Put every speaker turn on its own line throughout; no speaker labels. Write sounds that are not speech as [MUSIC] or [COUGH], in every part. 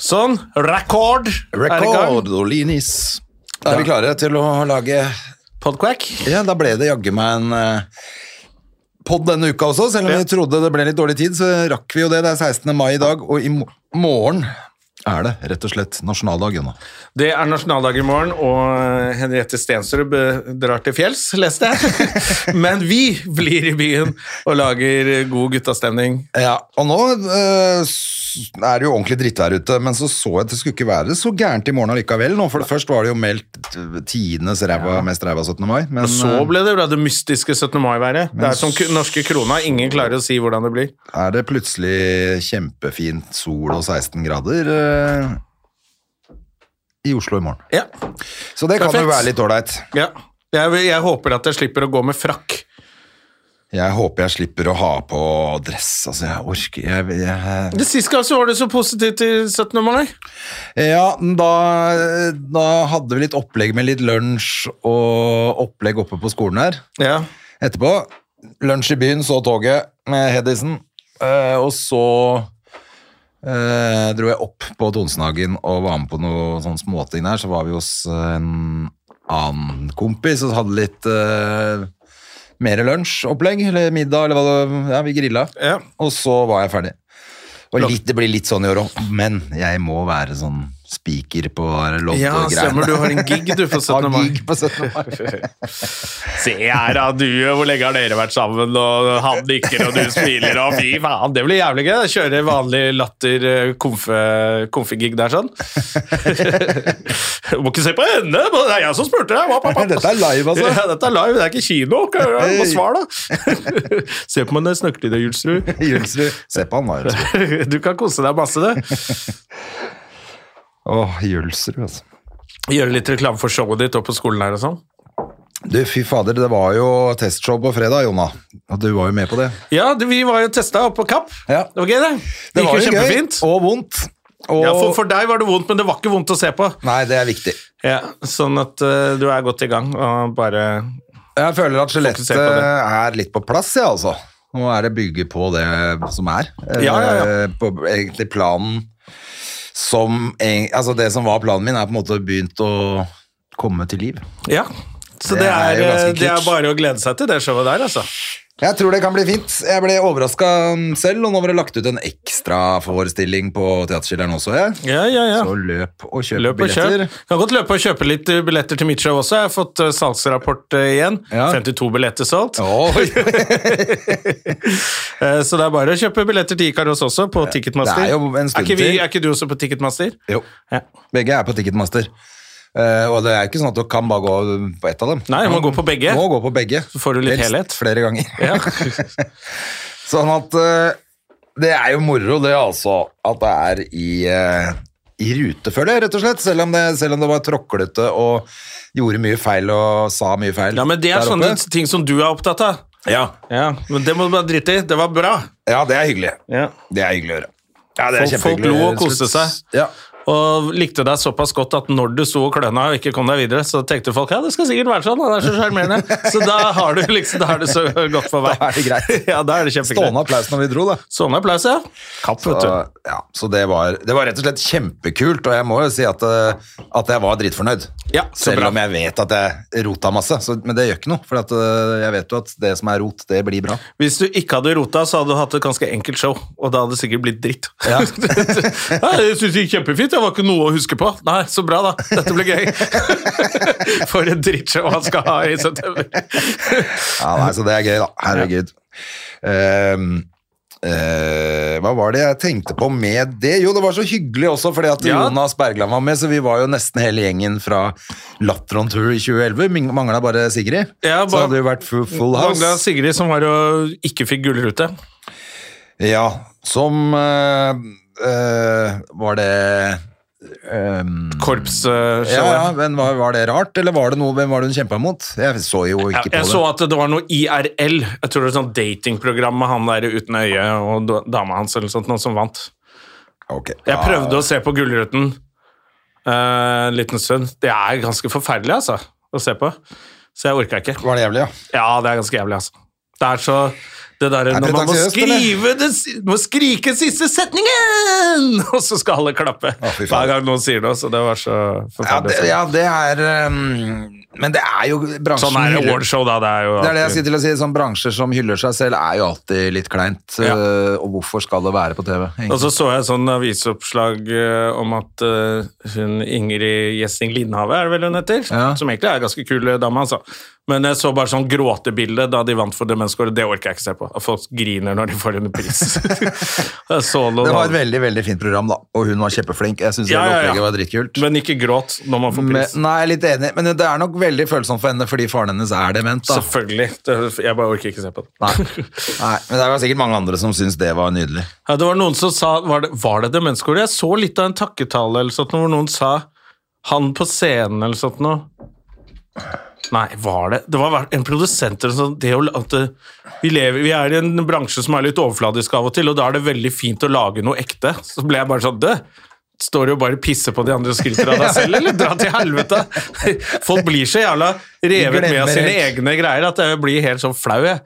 Sånn. Rekord.
Record Olinis. Da er vi klare til å lage
Podquack.
Ja, da ble det jaggu meg en uh, pod denne uka også. Selv om
Ja.
vi trodde det ble litt dårlig tid, så rakk vi jo det. Det er 16. mai i dag, og i mo- morgen er det rett og slett nasjonaldag. Gunnar.
Det er nasjonaldag i morgen, og Henriette Stensrud eh, drar til fjells, leste jeg. [LAUGHS] Men vi blir i byen og lager god guttastemning.
Ja, og nå eh, s- er det jo ordentlig drittvær ute, men så så jeg at det skulle ikke være så gærent i morgen allikevel. Nå, for det først var det jo meldt eh, tidenes ræva, mest ræva 17. mai. Men eh,
Og så ble det bra det mystiske 17. mai-været. Det
Men
er som k- norske krona, ingen klarer å si hvordan det blir.
eh, er det plutselig kjempefint sol og 16 grader eh, i Oslo i morgen.
Ja.
Så det kan
Perfekt.
jo være litt ålreit.
ja. Jeg, vil- jeg håper at jeg slipper å gå med frakk.
Jeg håper jeg slipper å ha på dress. Altså, jeg orker jeg, jeg,
Det Sist gang så var det så positivt til 17. mai.
Ja, da, da hadde vi litt opplegg med litt lunsj og opplegg oppe på skolen her.
Ja.
Etterpå, lunsj i byen, så toget med Hedisen. Eh, og så eh, dro jeg opp på Tonsenhagen og var med på noe sånn småting der. Så var vi hos eh, en annen kompis og hadde litt eh, mer lunsj-opplegg, eller middag, eller hva det Ja, vi grilla.
ja.
Og så var jeg ferdig. Og litt, det blir litt sånn i år òg, men jeg må være sånn spiker på
Ja,
låtgreiene.
stemmer. Du har en gig, du,
[LAUGHS]
på 17. mai.
gig på 17. mai.
[LAUGHS] Se her da, du, hvor lenge har dere vært sammen, og han nikker, og du smiler, og fy faen, det blir jævlig gøy. da. Kjøre vanlig latter eh, komfe- konfegig der sånn. [LAUGHS] Du må ikke se på henne, men det er jeg som spurte deg. Wap, wap, wap.
[LAUGHS] Dette er live, altså.
[LAUGHS] Ja, dette er live, det er ikke kino. Du må svare, da. [LAUGHS] se på meg når jeg snakker til deg, Julsrud.
Julsrud. [LAUGHS] Se på han, da. Julsrud.
[LAUGHS] Du kan kose deg masse, du.
Åh, Julsrud, altså.
Gjøre litt reklame for showet ditt og på skolen her og sånn.
Du, fy fader, det var jo testshow på fredag, Jonna. Og du var jo med på det.
Ja, du, vi var jo testa oppe på Kapp.
Ja.
Det var gøy, det. Det,
var
gikk jo
jo gøy,
kjempefint.
og vondt. Og
Ja, for, for deg var det vondt, men det var ikke vondt å se på.
Nei, det er viktig.
Ja, sånn at eh, du er godt i gang og bare
Jeg føler at skjelettet
Fokuser på det.
er litt på plass, jeg, altså. Nå er det bygge på det som er.
Ja, ja, ja.
Eh, På egentlig planen som eng- Altså, det som var planen min, er på en måte begynt å komme til liv.
Ja. Så
Det
det,
er
er,
jo ganske
eh, det er
kult.
bare å glede seg til det showet der, altså.
Jeg tror det kan bli fint. Jeg ble overraska selv, og nå var det lagt ut en ekstraforestilling på Teaterskilleren også, jeg.
Ja, ja, ja.
Så løp og kjøp
Løp og kjøp.
billetter.
Kan godt løpe og kjøpe litt eh, billetter til mitt show også. Jeg har fått eh, salgsrapport eh, igjen.
Ja.
52 billetter solgt.
Oi,
Eh, så det er bare å kjøpe billetter til Ikaros også, på Ticketmaster.
det er jo en stund
ikke vi,
til.
er ikke du også på Ticketmaster?
Jo.
Ja.
Begge er på Ticketmaster. Eh, og det er ikke sånn at du kan bare gå på ett av dem.
Nei, du må gå på begge.
Må gå på begge.
Så får du litt
Helst
helhet.
flere ganger. [LAUGHS]
Ja.
Sånn at eh, det er jo moro det, altså. At det er i, eh, i rute, føler jeg, rett og slett. Selv om det, selv om det var tråklete og gjorde mye feil og sa mye feil.
ja, men det er
der
sånne
oppe.
ting som du er opptatt av.
ja.
Ja, Men det må du bare drite i. Det var bra.
ja, det er hyggelig.
Ja.
Det er hyggelig å høre. Ja, det
Folk-
er
folk
kjempehyggelig.
lo og koste seg.
Ja.
Og likte deg såpass godt at når du sto og kløna og ikke kom deg videre, så tenkte folk ja, det skal sikkert være sånn, han er så sjarmerende. Så da har du liksom, da er det så godt på vei.
Da er det greit.
[LAUGHS] Ja, da er det
Stående
kjempegreit.
applaus når vi dro, da.
Stående applaus, ja. Kapp, vet du.
Så, ja, så det, var, det var rett og slett kjempekult, og jeg må jo si at, eh, at jeg var dritfornøyd.
Ja, så
Selv
bra.
om jeg vet at jeg rota masse, så, men det gjør ikke noe. For at, eh, jeg vet jo at det som er rot, det blir bra.
Hvis du ikke hadde rota, så hadde du hatt et ganske enkelt show, og da hadde det sikkert blitt dritt. [LAUGHS] Ja. jeg synes det gikk kjempefint, det var ikke noe å huske på. Nei, så bra da, dette ble gøy. [LAUGHS] For et drittshow han skal ha i september.
Ja, nei, så det er gøy, da. Herregud. Ehm, eh, hva var det jeg tenkte på med det? Jo, det var så hyggelig også, fordi at
Ja.
Jonas Bergland var med, så vi var jo nesten hele gjengen fra Latter on Tour i 2011. Mangla bare Sigrid.
Ja,
så
bare-
hadde det jo vært full, full house.
Magda Sigrid som var og ikke fikk gullrute.
Ja, som eh, eh, Var det ehm,
Korps
ja, ja, men var, var det rart, eller var det noe, hvem var det hun kjempa mot? Jeg så jo ikke
Jeg, jeg så
på det.
at det var noe IRL. Jeg tror det var sånn datingprogram med han der uten øye og da- dama hans eller sånt, noen som vant.
Ok.
Jeg
Ja,
prøvde å se på Gullruten eh, en liten stund. Det er ganske forferdelig, altså, å se på. Så jeg orka ikke.
Var det jævlig, ja?
Ja, det er ganske jævlig, altså. Det er så det der,
det
Når man må,
pretensiøst, eller?
skrive det, si- må skrike siste setningen, [LAUGHS] og så skal alle klappe
fy faen.
hver gang noen sier noe. Så det var så
Ja, det,
forferdelig.
ja, det er ehm, Men det er jo bransjen
sånn er det
hyller-
awardshow, da. Det er jo
Det er det jeg
alltid-
sier til å si. Sånn bransjer som hyller seg selv, er jo alltid litt kleint.
Ja.
eh, Og hvorfor skal det være på TV? egentlig?
Og så så jeg sånn avisoppslag eh, om at eh, hun Ingrid Gjessing Lindhave, er det vel hun heter?
Ja.
Som egentlig er en ganske kul eh, dame, altså. Men jeg så bare sånn gråtebilde da de vant for Demenskåret. Det orker jeg ikke se på. At folk griner når de får en
[LAUGHS]
pris. Jeg så noe
Det var
da.
et veldig veldig fint program, da. Og hun var kjempeflink. Jeg syns
Ja, ja, ja.
opplegget var dritkult.
Men ikke gråt når man får
Men,
pris.
nei, jeg er litt enig, men det er nok veldig følsomt for henne fordi faren hennes er dement. da.
Selvfølgelig. Det- Jeg bare orker ikke se på det.
Nei.
[LAUGHS]
nei, Men det var sikkert mange andre som syns det var nydelig.
Ja, det var noen som sa Var det, var det demenskåret? Jeg så litt av en takketale eller sånt, hvor noen sa han på scenen eller sånt noe. Nei, var det Det var en produsent eller sånn det, å- at det, vi, lever, vi er i en bransje som er litt overfladisk av og til, og da er det veldig fint å lage noe ekte. Så ble jeg bare sånn Det står du og bare pisser på de andre og skryter av deg selv, eller? Dra til helvete! [LAUGHS] Folk blir så jævla revet med av
glemmer
sine
helt.
egne greier at jeg blir helt sånn flau, jeg.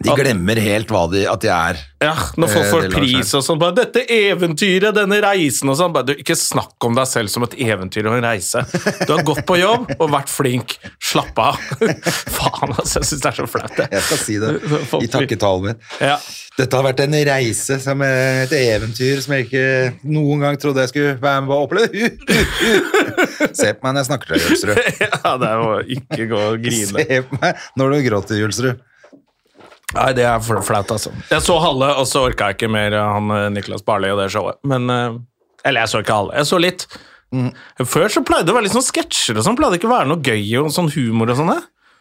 De glemmer helt hva de, at de er.
Ja, når folk
Eh,
får
det lar
pris
seg.
og sånn. Bare 'Dette eventyret, denne reisen' og sånn. Bare, du, ikke snakk om deg selv som et eventyr og en reise. Du har gått på jobb og vært flink. Slapp av. [LAUGHS] Faen, altså. Jeg syns det er så flaut, det.
Jeg skal si det
[LAUGHS] Folk
i takketalen min. [LAUGHS]
Ja.
Dette har vært en reise, som eh, et eventyr som jeg ikke noen gang trodde jeg skulle være med på å oppleve. [LAUGHS] Se på meg når jeg snakker til deg, Jølsrud.
[LAUGHS] ja, det er jo ikke gå
[LAUGHS]
og grine.
Se på meg når du gråter, Julsrud.
Nei, det er fl- flaut, altså. Jeg så halve, og så orka jeg ikke mer av han eh, Niklas Barli og det showet. Men eh, Eller, jeg så ikke halve. Jeg så litt.
Mm.
Før så pleide det å være litt sånn sketsjer og sånn. Pleide det ikke å være noe gøy og sånn humor og sånn? det?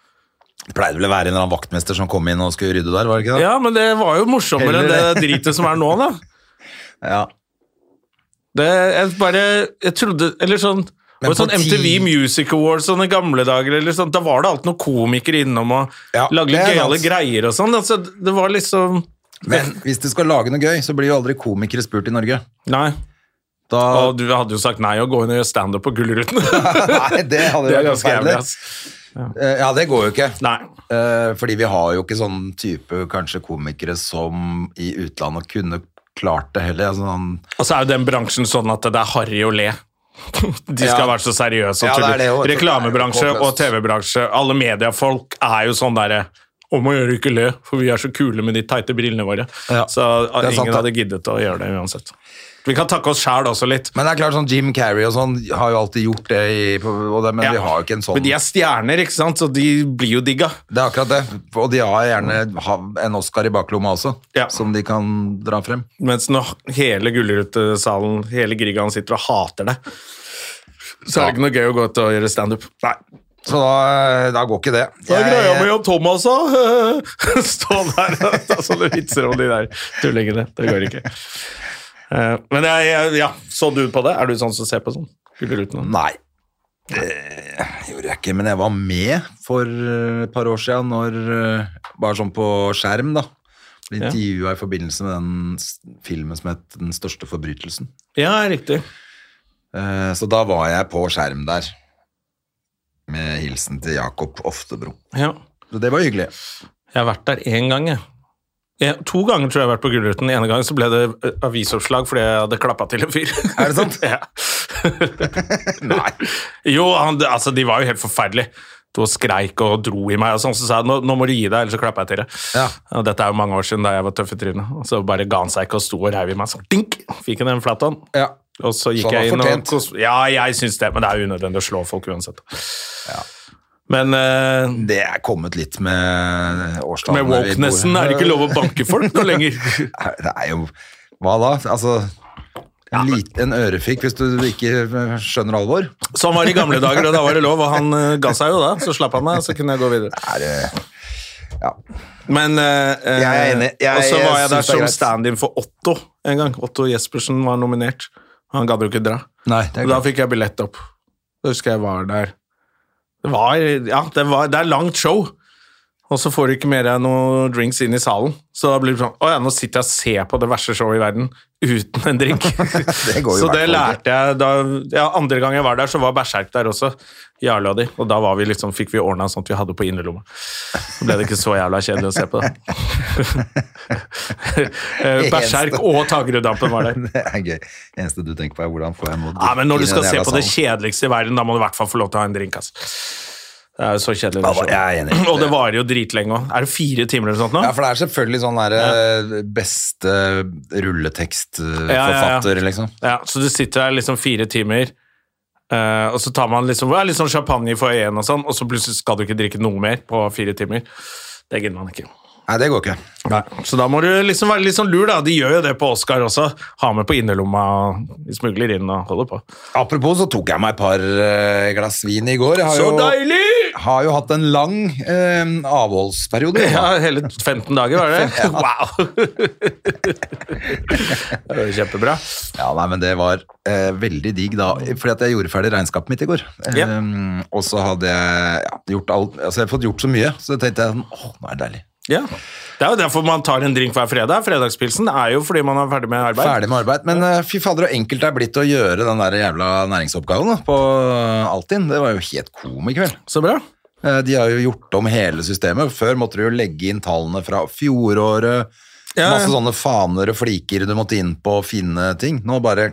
Det pleide vel å være en eller annen vaktmester som kom inn og skulle rydde der, var det ikke det?
Ja, men det var jo morsommere enn
Heller
det dritet som er nå, da.
Ja.
Det, jeg bare Jeg trodde Eller sånn
Men
og sånn
på ti-
MTV Music Awards sånne gamle dager, eller sånn, da var det alltid noen komikere innom og
Ja,
lagde
det
litt
er
gøyale
sant.
greier og sånn. Altså, det var liksom
Men hvis du skal lage noe gøy, så blir jo aldri komikere spurt i Norge.
Nei.
Da, [LAUGHS]
Og du hadde jo sagt nei og gå inn og gjøre standup på Gullruten. [LAUGHS]
nei, det hadde
det er
jo vært
ganske jævlig,
forferdelig.
ass.
Eh, Ja, det går jo ikke.
Nei.
Eh, Fordi vi har jo ikke sånn type kanskje komikere som i utlandet kunne klart det heller. Altså, han,
Og så er jo den bransjen sånn at det er harry å le. De skal
Ja.
være så seriøse. og
Ja, det er
tulle.
det jo. Det
Reklamebransje
er jo
og TV-bransje, alle mediefolk er jo sånn derre om å gjøre ikke le, for vi er så kule med de teite brillene våre.
Ja,
Så ah,
det er
ingen
sant, det.
hadde giddet å gjøre det uansett. Vi kan takke oss sjæl også litt.
men det er klart sånn Jim Carrey og sånn har jo alltid gjort det, i, på- og det men
Ja.
vi har jo ikke en sånn
Men de er stjerner, ikke sant, så de blir jo digga.
Det er akkurat det. Og de har gjerne ha- en Oscar i baklomma også,
Ja.
som de kan dra frem.
Mens når hele Gullrutesalen, hele Grigan sitter og hater det, så er det ikke noe gøy å gå ut og gjøre standup. Nei.
Så da, da går ikke det.
Hva er greia med
Jeg-
Jan Thomas, da? [LAUGHS] Stå der og ta sånne vitser om de der tullingene. Det går ikke. Eh, Men jeg, jeg, ja, så du på det? Er du sånn som ser på sånn? Gullruten?
Nei. Det gjorde jeg ikke, men jeg var med for eh, et par år siden, når, eh, bare sånn på skjerm, da. Ble
Ja.
intervjua i forbindelse med den s- filmen som het 'Den største forbrytelsen'.
Ja, riktig.
Eh, Så da var jeg på skjerm der, med hilsen til Jakob Oftebro.
Ja.
Så det var hyggelig.
Jeg har vært der én gang, jeg. Ja, to ganger tror jeg jeg har vært på Gullruten. Den ene gangen så ble det eh, avisoppslag fordi jeg hadde klappa til en fyr.
Er det
[LAUGHS]
sant?
ja.
Nei.
Jo, han, altså, de var jo helt forferdelige. Du skreik og dro i meg, og sånn, så sa jeg nå, nå må du gi deg, ellers så klapper jeg til deg.
Ja.
Og dette er jo mange år siden da jeg var tøff i trynet. Og så bare ga han seg ikke og sto og reiv i meg. Sånn, dink! Fikk han en flat hånd.
Ja.
Og så gikk
Så han var
jeg inn
fortjent.
og kos- Ja, jeg syns det, men det er jo unødvendig å slå folk uansett. Men eh,
Det er kommet litt med årstallene.
med
vi bor-
wokenessen er det ikke
[LAUGHS]
lov å banke folk nå lenger.
Det er jo Hva da? Altså en, lit, en ørefik hvis du ikke skjønner alvor.
Sånn var det i gamle dager, og da var det lov. Og han eh, ga seg jo da, så slapp han meg, så kunne jeg gå videre.
Er det ja.
Men eh, eh,
Jeg er enig. Jeg-
Og så
jeg
var jeg
synes det er
der som
greit.
stand-in for Otto en gang. Otto Jespersen var nominert. Han gadd jo ikke dra.
Nei, det er
Da
klart.
fikk jeg billett opp. Da husker jeg var der. Det var Ja, det, var, det er langt show. Og så får du ikke mer enn noen drinks inn i salen. Så da blir det sånn Å ja, nå sitter jeg og ser på det verste showet i verden uten en
[LAUGHS]
drink.
Det går jo
så
i hvert fall
det
ikke.
lærte jeg da ja, Andre gang jeg var der, så var Berserk der også. Jarle og de. Og da var vi liksom, fikk vi ordna sånn at vi hadde på innerlomma. Så ble det ikke så jævla kjedelig å se på,
[LAUGHS]
da. [LAUGHS] Eh, Berserk og Tageruddampen
[LAUGHS]
var der.
Det er gøy. Det eneste du tenker på, er hvordan får jeg mot
Ja, men når du skal se på det kjedeligste i verden, da må du i hvert fall få lov til å ha en drink, ass. Det er jo så kjedelig.
Ja,
det
jeg er
showet.
enig.
Og det varer jo dritlenge òg. Er det fire timer eller noe sånt nå?
Ja, for det er selvfølgelig sånn der eh, beste rulletekstforfatter,
Ja, ja, ja.
liksom.
Ja, så du sitter der liksom fire timer, eh, og så tar man liksom, ja, litt sånn champagne i foajeen og sånn, og så plutselig skal du ikke drikke noe mer på fire timer. Det gidder man ikke.
Nei, det går ikke.
Så da må du liksom være litt sånn lur, da. De gjør jo det på Oscar også. Ha med på innerlomma, og de smugler inn og holder på.
Apropos, så tok jeg meg et par eh, glass vin i går. Jeg har,
Så
jo,
deilig!
har jo hatt en lang eh, avholdsperiode. jo,
[LAUGHS]
da.
Ja, hele 15 dager var
[LAUGHS]
det. Wow! det var jo kjempebra.
Ja, nei, men det var eh, veldig digg da, fordi at jeg gjorde ferdig regnskapet mitt i går.
Ja.
Eh, og så hadde jeg ja, gjort alt, altså jeg har fått gjort så mye, så tenkte jeg, sånn, åh, nå er det deilig.
Ja. Det er jo derfor man tar en drink hver fredag. Fredagspilsen er jo fordi man er ferdig med arbeid.
Ferdig med arbeid, men eh, fy fader, hvor enkelt det er blitt å gjøre den der jævla næringsoppgaven da, på Altinn. Det var jo helt komikveld.
Så bra.
Eh, de har jo gjort om hele systemet. Før måtte du jo legge inn tallene fra fjoråret,
Ja, ja.
masse sånne faner og fliker du måtte inn på å finne ting. Nå bare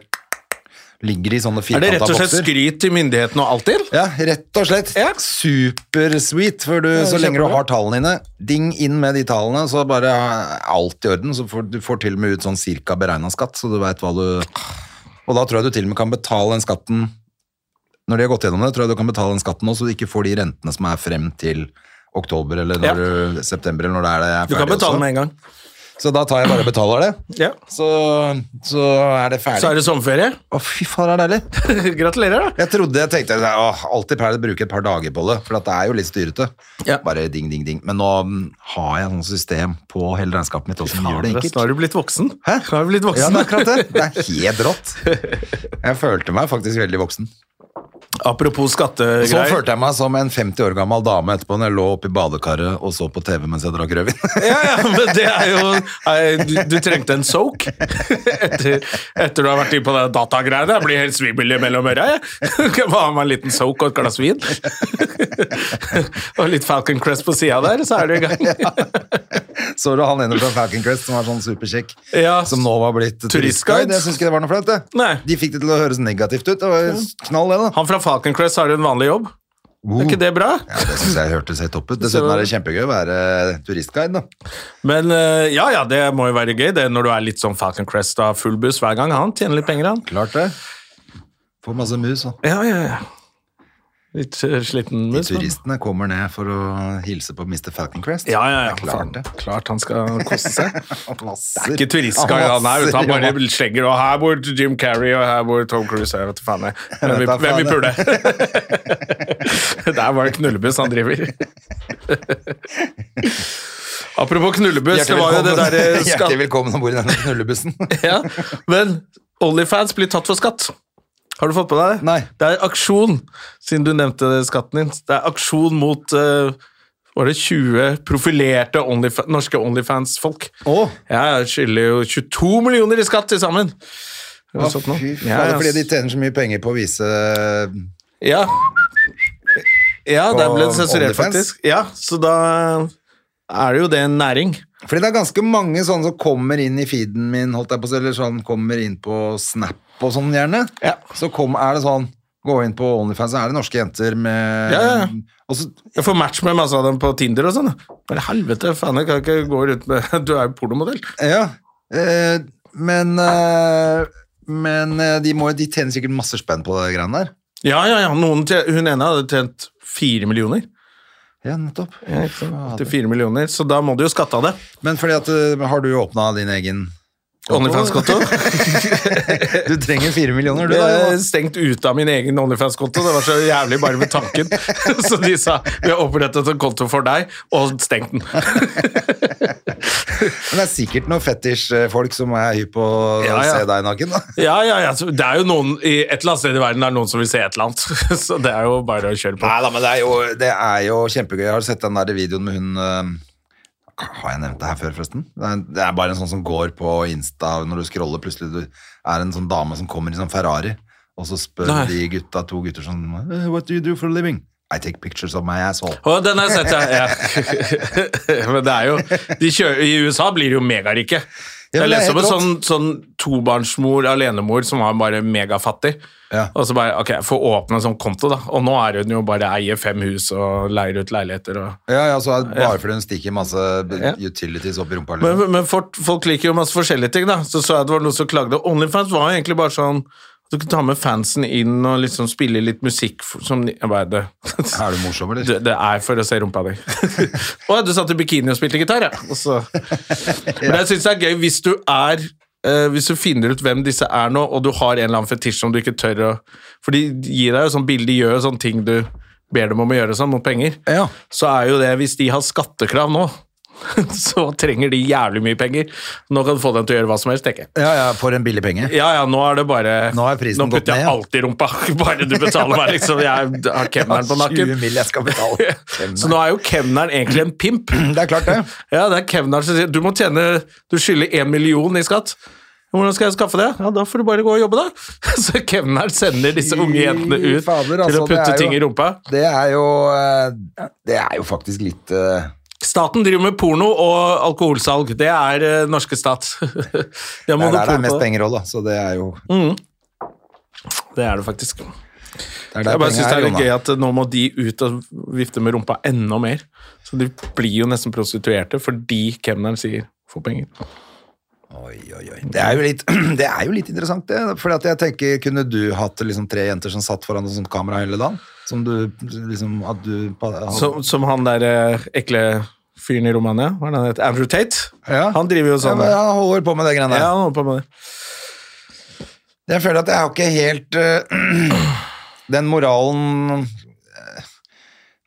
ligger de i sånne
Er det
firkanta
rett og
bokser.
slett skryt til myndighetene og alt til?
Ja, rett og slett.
Ja.
Supersweet. For du, så lenge du har tallene dine, ding inn med de tallene, så bare er alt i orden. Så får, du får til og med ut sånn cirka beregna skatt, så du veit hva du Og da tror jeg du til og med kan betale den skatten Når de har gått gjennom det, tror jeg du kan betale den skatten nå, så du ikke får de rentene som er frem til oktober eller når du, september eller når det er det jeg er
Du kan
ferdig
betale
også.
med en gang.
Så da tar jeg bare og betaler det.
Ja.
Så, så er det ferdig.
Så er det sommerferie. [LAUGHS]
Å, fy faen, det er deilig.
Gratulerer, da.
Jeg trodde, jeg tenkte, åh, alltid pleier jeg å bruke et par dager på det, for at det er jo litt styrete.
Ja.
Bare ding, ding, ding. Men nå mm, har jeg sånn system på hele regnskapet mitt, og som gjør det
Nå
enkelt.
har du blitt voksen.
Hæ?
Nå har du blitt
Ja,
voksen.
det er akkurat det. Det er helt rått. Jeg følte meg faktisk veldig voksen.
Apropos
Så
skattegreier.
følte jeg meg som en 50 år gammel dame etterpå når jeg lå oppe i badekaret og så på TV mens jeg drakk rødvin.
Ja, ja, men det er jo nei, Du, du trengte en soak etter, etter du har vært inne på det datagreiene. Jeg blir helt svimmel mellom øra, jeg. Kan bare ha meg en liten soak og et glass vin. Og litt Falcon Crest på sida der, så er du i gang.
[LAUGHS] Så du han ene fra Falcon Crest som var sånn superkjekk,
Ja.
som nå var blitt
Turistguide.
turistguide? Jeg syns ikke det var noe flaut, det.
Nei.
De fikk det til å høres negativt ut. Det var jo knall, det, da.
Han fra Falcon Crest har jo en vanlig jobb. Er ikke det bra?
Ja, det synes jeg hørtes helt topp ut. Dessuten er det kjempegøy å være turistguide, da.
Men eh, ja, ja, det må jo være gøy det er når du er litt sånn Falcon Crest og har full buss hver gang. Han tjener litt penger, han.
Klart det. Får masse mus, og
Ja, ja, ja. Litt eh, sliten
de
buss. men-
turistene kommer ned for å hilse på Mr. Falcon Crest.
Ja, ja, ja.
Det er klart det.
klart han skal koste seg.
Han
Det
Masser.
er ikke turistguide han er, uten han
masser-
bare slenger og her bor Jim Carrey og her bor Tom Cruise, jeg vet
[LAUGHS]
faen jeg. Hvem vi-
Vet da
Hvem vi
faen
[LAUGHS] puler. Det er bare knullebuss han driver. [LAUGHS] Apropos knullebuss, det
Hjertelig
var jo det eh,
velkommen.
derre
[LAUGHS] Hjertelig velkommen om bord i denne knullebussen.
[LAUGHS] Ja, men Onlyfans blir tatt for skatt. Har du fått på deg det?
Nei.
Det er aksjon, siden du nevnte skatten din. Det er aksjon mot eh, var det 20 profilerte Onlyfa- norske Onlyfans-folk.
Å.
Ja, jeg skylder jo 22 millioner i skatt til sammen. Har du
Å,
sett noe?
fy faen,
Ja,
det
ja.
er fordi de tjener så mye penger på å vise eh,
Ja. Ja, der ble
På
det sensurert,
OnlyFans?
faktisk. Ja, så da er det jo det en næring.
Fordi det er ganske mange sånne som kommer inn i feeden min, holdt jeg på å si, eller sånn kommer inn på Snap og sånn, gjerne.
Ja.
Så kom, er det sånn Gå inn på Onlyfans, så er det norske jenter med
Ja, ja, ja.
Og så
Jeg får match med masse av dem på Tinder og sånn. Men helvete, faen, jeg kan ikke gå rundt med [LAUGHS] Du er jo pornomodell.
Ja, eh, men eh, Men eh, de, må, de tjener sikkert masse spenn på det greiene der.
Ja, ja, ja. Noen tje- hun ene hadde tjent fire millioner.
Ja, nettopp.
Til fire millioner, så da må du jo skatte av det.
Men fordi at eh, Har du åpna din egen
Onlyfans-konto.
Du trenger fire millioner, du
[LAUGHS] Ble
da. Jonas.
Eh, stengt ute av min egen Onlyfans-konto. Det var så jævlig bare med tanken. [LAUGHS] Så de sa vi har opprettet en konto for deg, og stengt den.
Men det er sikkert noen fetisjfolk som er hypp på å
Ja, ja.
se deg naken. da.
Ja, ja, ja. så Det er jo noen i et eller annet sted i verden det er noen som vil se et eller annet. [LAUGHS] Så det er jo bare å kjøre på.
Nei da, men det er, jo, det er jo kjempegøy. Jeg har sett den der videoen med hun eh, Har jeg nevnt det her før, forresten? Det er, det er bare en sånn som går på Insta når du scroller, plutselig du er en sånn dame som kommer i sånn Ferrari, og så spør
Nei.
de gutta, to gutter sånn «Eh, What do you do for a living? I take pictures of my asshole.
Å, den har jeg sett, ja. [LAUGHS] ja. Men det er jo de kjører, I USA blir de jo megarike.
Ja,
Jeg
men det er
leste om en
helt
sånn, sånn tobarnsmor, alenemor, som var bare megafattig.
Ja.
Og så bare Ok, få åpne en sånn konto, da. Og nå er hun jo bare eier fem hus og leier ut leiligheter og
Ja, ja, så er det bare fordi hun stikker masse b-
Ja.
utilities opp i rumpa. Liksom.
Men, men folk, folk liker jo masse forskjellige ting, da. Så så jeg at det var noen som klagde. Onlyfans var jo egentlig bare sånn at du kunne ta med fansen inn og liksom spille litt musikk f- som de- jeg bare, det.
Er du morsom, eller?
Det, det er for å se rumpa
[LAUGHS]
di. Å, du satt i bikini og spilte gitar, ja. Og så. Men jeg syns det er gøy hvis du er eh, hvis du finner ut hvem disse er nå, og du har en eller annen fetisj som du ikke tør å For de gir deg jo sånn bilde, de gjør jo sånne ting du ber dem om å gjøre sånn, mot penger
Ja.
så er jo det, hvis de har skattekrav nå, [LAUGHS] så trenger de jævlig mye penger. Nå kan du få dem til å gjøre hva som helst, tenker jeg.
Ja, ja, for en billig penge.
Ja, ja, nå er det bare
Nå er prisen
Nå putter
gått ned,
jeg
ja.
alltid i rumpa, [LAUGHS] bare du betaler meg, liksom. Jeg har kemneren
[LAUGHS]
på
20
nakken.
mill. jeg skal
[LAUGHS]
betale.
Så nå er jo kemneren egentlig en pimp.
Det er klart, det.
Ja, det er kemneren som sier du må tjene Du skylder én million i skatt. Hvordan skal jeg skaffe det? Ja, Da får du bare gå og jobbe, da. [LAUGHS] Så kemneren sender disse unge jentene
Fy
ut
fader,
til å
altså, det
putte
er
ting
jo-
i rumpa.
Det er jo eh, Det er jo faktisk litt eh,
Staten driver med porno og alkoholsalg. Det er eh, norske stat. [LAUGHS] De har
Det er der det
monopol
er
på Mm.
mest
det.
penger også, da. Så det er jo
Det er det faktisk.
det er der
Jeg bare
penger
synes det
er,
er litt
Jonna.
gøy at eh, nå må de ut og vifte med rumpa enda mer. Så de blir jo nesten prostituerte fordi kemneren sier 'få penger'.
Oi, oi, oi. Det er jo litt, [CLEARS THROAT] det er jo litt interessant, det. Fordi at jeg tenker, kunne du hatt liksom tre jenter som satt foran et sånt kamera hele dagen? Som du liksom At du
Som, som han der eh, ekle fyren i Romania, hva er det han heter? Andrew Tate?
Ja.
Han driver jo
ja,
sånn.
men
Ja,
jeg holder på med det greiene der.
han holder på med det.
Jeg føler at jeg har ikke helt eh, [CLEARS THROAT] den moralen eh,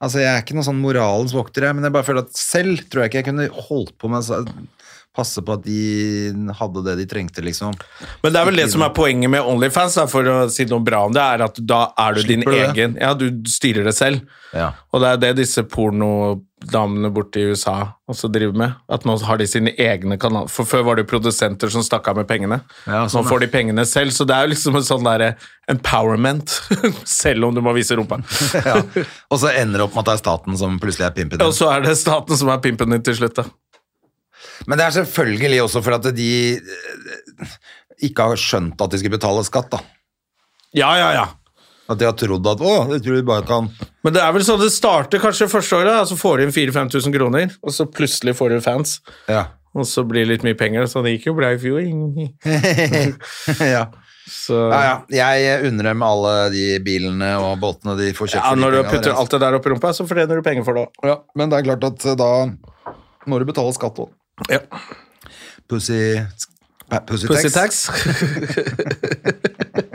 Altså, jeg er ikke noen sånn moralens vokter, jeg, men jeg bare føler at selv tror jeg ikke jeg kunne holdt på med å passe på at de hadde det de trengte, liksom.
Men det er vel det som er poenget med Onlyfans, da, for å si noe bra om det, er at da er du din
Slipper du det?
egen Ja, du styrer det selv.
Ja.
Og det er det disse pornodamene borte i USA også driver med. At nå har de sine egne kanaler. For før var det jo produsenter som stakk av med pengene.
Ja,
nå
sånn, ja.
får de pengene selv, så det er jo liksom en sånn derre empowerment. [LAUGHS] selv om du må vise
[LAUGHS]
rumpa.
ja. Og så ender det opp med at det er staten som plutselig er pimpen
Og
din.
så er det staten som er pimpen din til slutt, da.
Men det er selvfølgelig også for at de eh, ikke har skjønt at de skulle betale skatt, da.
Ja, ja, ja.
At de har trodd at å, det tror du bare kan
Men det er vel sånn det starter kanskje første året, da, så får du inn 4000-5000 kroner, og så plutselig får du fans,
Ja.
og så blir det litt mye penger, så det gikk jo bra i fjor.
[LAUGHS] ja.
Så
Ja, ja. Jeg unner dem alle de bilene og båtene de får kjøpt.
ja,
for de
når du
pengene
putter
deres.
alt det der opp i rumpa, så fortjener du penger for det òg.
Ja, men det er klart at eh, da må du betale skatt òg.
Ja.
Pussy, eh, pussy,
Pussy
tax.
tax. [LAUGHS]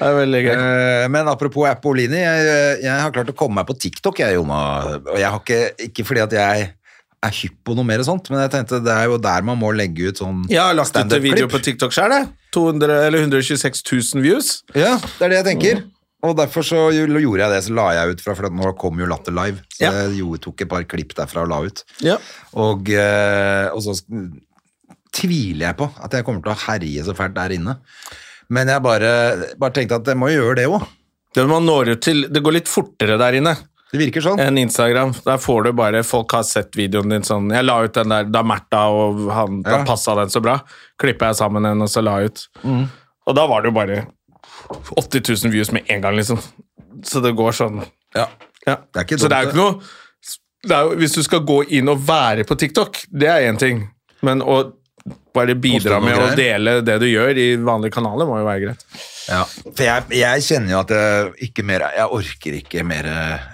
det er veldig gøy.
Eh, Men apropos Appolini, jeg, jeg har klart å komme meg på TikTok, jeg, Jonna. Og jeg har ikke, ikke fordi at jeg er hypp på noe mer og sånt, men jeg tenkte det er jo der man må legge ut sånn
Jeg har lagt ut en video på TikTok sjøl, jeg. 200 eller 126 000 views.
Ja, det er det jeg tenker. Og derfor så jo- gjorde jeg det, så la jeg ut fra, for at nå kom jo Latter Live. Så
Ja.
jeg gjorde, tok et par klipp derfra og la ut.
Ja.
Og, eh, og så sk- tviler jeg på at jeg kommer til å herje så fælt der inne. Men jeg bare, bare tenkte at jeg må jo gjøre det òg.
Det, man når ut til, det går litt fortere der inne
Det virker sånn.
enn Instagram. Der får du bare Folk har sett videoen din sånn Jeg la ut den der da Märtha og han da
Ja.
passa den så bra. Klippa jeg sammen en, og så la jeg ut.
Mm.
Og da var det jo bare 80 000 views med en gang, liksom. Så det går sånn.
Ja.
Ja.
Det er ikke
så det er jo ikke
dumt,
noe det er, jo- Hvis du skal gå inn og være på TikTok, det er én ting. Men å bare bidra
Poste noe
med å
greier.
dele det du gjør i vanlige kanaler, må jo være greit.
Ja. For jeg, jeg kjenner jo at jeg ikke mer Jeg orker ikke mer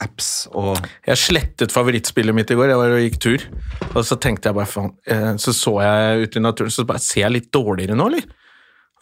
apps og
Jeg slettet favorittspillet mitt i går. Jeg var og gikk tur. Og så tenkte jeg bare, faen, eh, så så jeg ut i naturen, så bare, ser jeg litt dårligere nå, eller?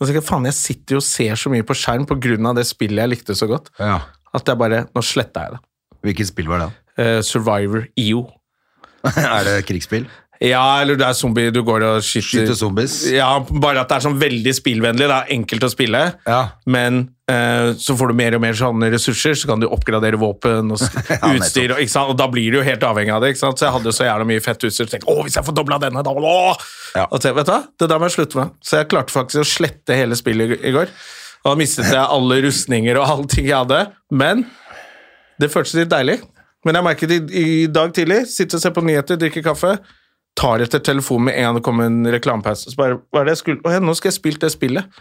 Og så tenkte jeg, faen, jeg sitter jo og ser så mye på skjerm på grunn av det spillet jeg likte så godt,
Ja.
at jeg bare, nå sletter jeg det.
Hvilket spill var det?
Eh, Survivor EO.
[LAUGHS] er det krigsspill?
Ja, eller det er zombie, du går og skyter.
Skyter zombies?
Ja, bare at det er sånn veldig spillvennlig, det er enkelt å spille,
Ja.
men eh, så får du mer og mer sånne ressurser, så kan du oppgradere våpen og s-
[LAUGHS]
utstyr, og, ikke sant? og da blir du jo helt avhengig av det, ikke sant? Så jeg hadde jo så jævla mye fett utstyr, så tenkte jeg, åh, hvis jeg får doblet denne, da, åh!
Ja.
Og så, vet du hva, det der må jeg slutte med. Så jeg klarte faktisk å slette hele spillet i, i går, og da mistet jeg alle rustninger og allting jeg hadde, men det føltes litt deilig. Men jeg merket i, i dag tidlig, sitter og ser på nyheter, drikker kaffe, tar etter telefonen med en gang det kommer en reklamepause. Så bare, hva er det jeg skulle? Åh, nå skal jeg spilt det spillet.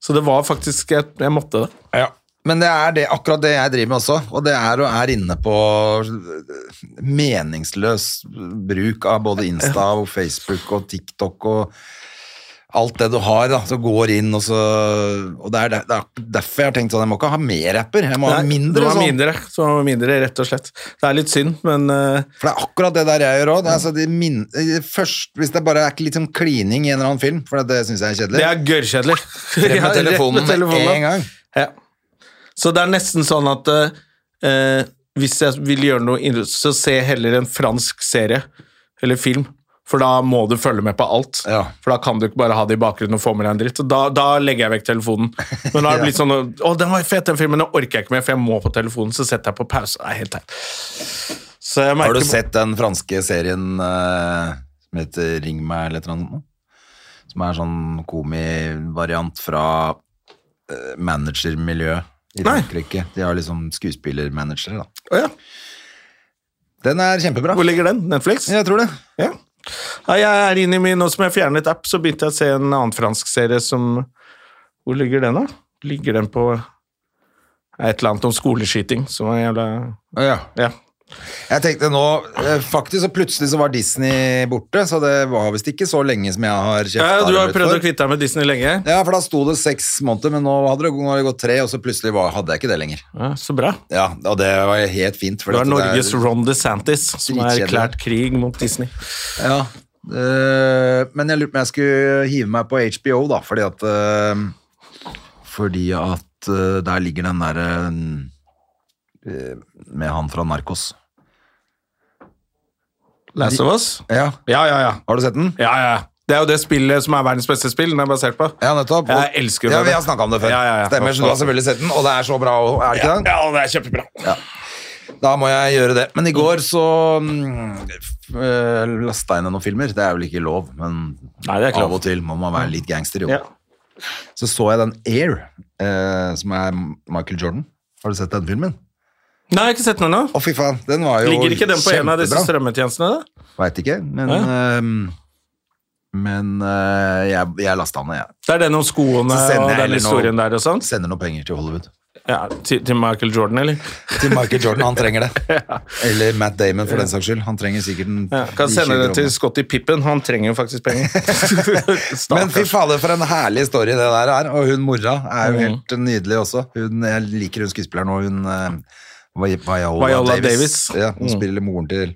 Så det var faktisk, jeg, jeg måtte det.
Men det er det, akkurat det jeg driver med også, og det er å er inne på øh, meningsløs bruk av både Insta og Facebook og TikTok og alt det du har, da, så går inn og så Og det er, der, det er derfor jeg har tenkt sånn, jeg må ikke ha mer apper, jeg må ha
Nei,
mindre.
det var
sånn.
mindre, så det var mindre, rett og slett. Det er litt synd, men eh,
For det er akkurat det der jeg gjør òg. Altså, de min- eh, først, hvis det bare er ikke litt sånn klining i en eller annen film, for det, det syns jeg er kjedelig.
det er [LAUGHS] gørrkjedelig.
Frem
Ja,
med
rett
telefonen med
telefonen.
en gang.
Ja. Så det er nesten sånn at eh, eh, hvis jeg vil gjøre noe, inn- så se heller en fransk serie eller film. For da må du følge med på alt.
Ja.
For da kan du ikke bare ha det i bakgrunnen og få med deg en dritt. Og da, da legger jeg vekk telefonen. Men [LAUGHS] nå har det blitt sånn Å, den var fet, den filmen. Nå orker jeg ikke mer, for jeg må på telefonen. Så setter jeg på pause. Det er helt teit. Så jeg
Har
merker
du sett den franske serien eh, som heter Ring meg eller et eller annet? sånt nå? Som er sånn komivariant fra eh, managermiljøet i
Nei.
Frankrike. De har liksom skuespillermanagere, da.
Å, ja.
Den er kjempebra.
Hvor ligger den? Netflix?
Jeg tror det.
Ja. Nei, jeg er inne i min, Nå som jeg fjernet app, så begynte jeg å se en annen fransk serie som Hvor ligger den, da? Ligger den på Et eller annet om skoleskyting, som var jævla
Ja.
Ja.
Jeg tenkte nå, eh, faktisk så plutselig så var Disney borte, så det var visst ikke så lenge som jeg har kjefta.
ja du har
dem ut
prøvd å
for.
kvitte deg med Disney lenge?
Ja, for da sto det seks måneder, men nå hadde det, nå hadde det gått tre, og så plutselig var, hadde jeg ikke det lenger.
Ja, så bra.
Ja, og det var helt fint. For
Du er
dette- det
Norges Ron DeSantis, som har
Dritkjedelig.
erklært krig mot Disney.
Ja, eh, men jeg lurte på om jeg skulle hive meg på HBO da, fordi at eh, fordi at eh, der ligger den der eh, eh, med han fra Narkos.
Last of Us?
Ja,
Ja, ja, ja.
har du sett den?
ja, ja. Det er jo det spillet som er verdens beste spill, den er basert på.
Ja, nettopp.
Jeg elsker
ja,
det.
Vi har snakket om det
Ja,
før.
ja, ja.
Stemmer, så du har selvfølgelig sett den, og det er så bra også, er det ikke det?
Ja, det er kjempebra.
Da må jeg gjøre det. Men i går så uh, lasta jeg ned noen filmer. Det er vel ikke lov, men
Nei, det er ikke lov.
av og til må man være litt gangster, jo.
Ja.
Så så jeg den Air, eh, som er Michael Jordan. Har du sett den filmen?
Nei, jeg har ikke sett den ennå.
Å, fy faen. Den var jo
Ligger ikke den på en av disse
kjempebra.
strømmetjenestene? da?
Veit ikke, men eh, Men eh, jeg, jeg lasta den ned, jeg.
Det er den om skoene
Så
og
sender jeg
den
heller
historien
noe-
der og sånn?
Sender noen penger til Hollywood.
Ja, til, til Michael Jordan, eller?
Til Michael Jordan. Han trenger [LAUGHS] det. Eller Matt Damon, for den saks skyld. Han trenger sikkert en
Ja, kan
10-20
sende det til
kroner.
Scotty Pippen, han trenger jo faktisk penger. [LAUGHS]
Men fy
Stakkars.
fader, for en herlig story det der er. Og hun mora er
Mhm.
jo helt nydelig også. Hun, jeg liker hun skuespilleren og hun eh, Vi- Viola,
Viola
Davis.
Davis. Mhm.
Ja, hun spiller moren til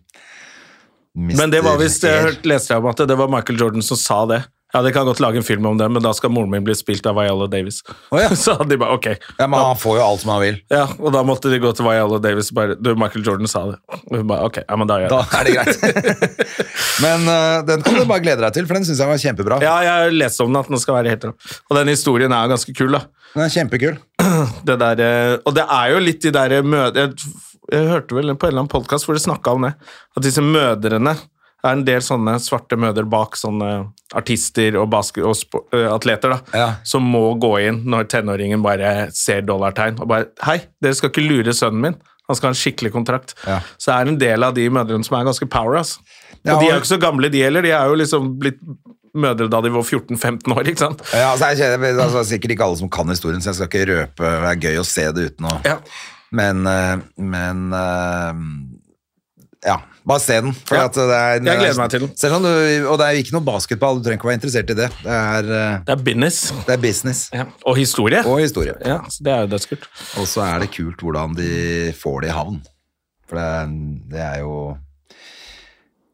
Mr.
Men det var visst, jeg
Air.
hørte, leste jeg om at det var Michael Jordan som sa det. Ja, de kan godt lage en film om det, men da skal moren min bli spilt av Viola Davis.
ja.
[LAUGHS] Så de bare, ok.
Ja, men han får jo alt som han vil.
Ja, og da måtte de gå til Viola Davis og bare, du, Michael Jordan sa det. Og hun bare, ok, ja, men da gjør jeg
Da
det.
er det greit. [LAUGHS] men eh, den kan du bare glede deg til, for den syns jeg var kjempebra.
Ja, jeg leste om den at den skal være helt rå. Og den historien er ganske kul, da.
Den er kjempekul.
det der, eh, og det er jo litt de der mødre... Jeg, jeg hørte vel på en eller annen podkast hvor de snakka om det, at disse mødrene det er en del sånne svarte mødre bak sånne artister og, basket, og spo- eh, atleter da,
Ja.
som må gå inn når tenåringen bare ser dollartegn og bare Hei, dere skal ikke lure sønnen min. Han skal ha en skikkelig kontrakt.
Ja.
Så det er en del av de mødrene som er ganske power. Altså. og
Ja,
de er
og-
jo ikke så gamle, de heller. De er jo liksom blitt mødre da de var 14-15 år. ikke sant?
Ja, altså, jeg kjenner, altså, det er sikkert ikke alle som kan historien, så jeg skal ikke røpe. Det er gøy å se det uten å
Ja.
Men, eh, men eh, Ja. Bare se den. For
Ja.
at det er,
Jeg gleder meg til den.
Selv om du, og det er jo ikke noe basketball, du trenger ikke å være interessert i det. Det er, eh,
Det er business.
det er business
Ja. Og historie.
og historie.
Ja, så det er jo dødskult.
Og så er det kult hvordan de får det i havn. For det, er- det er jo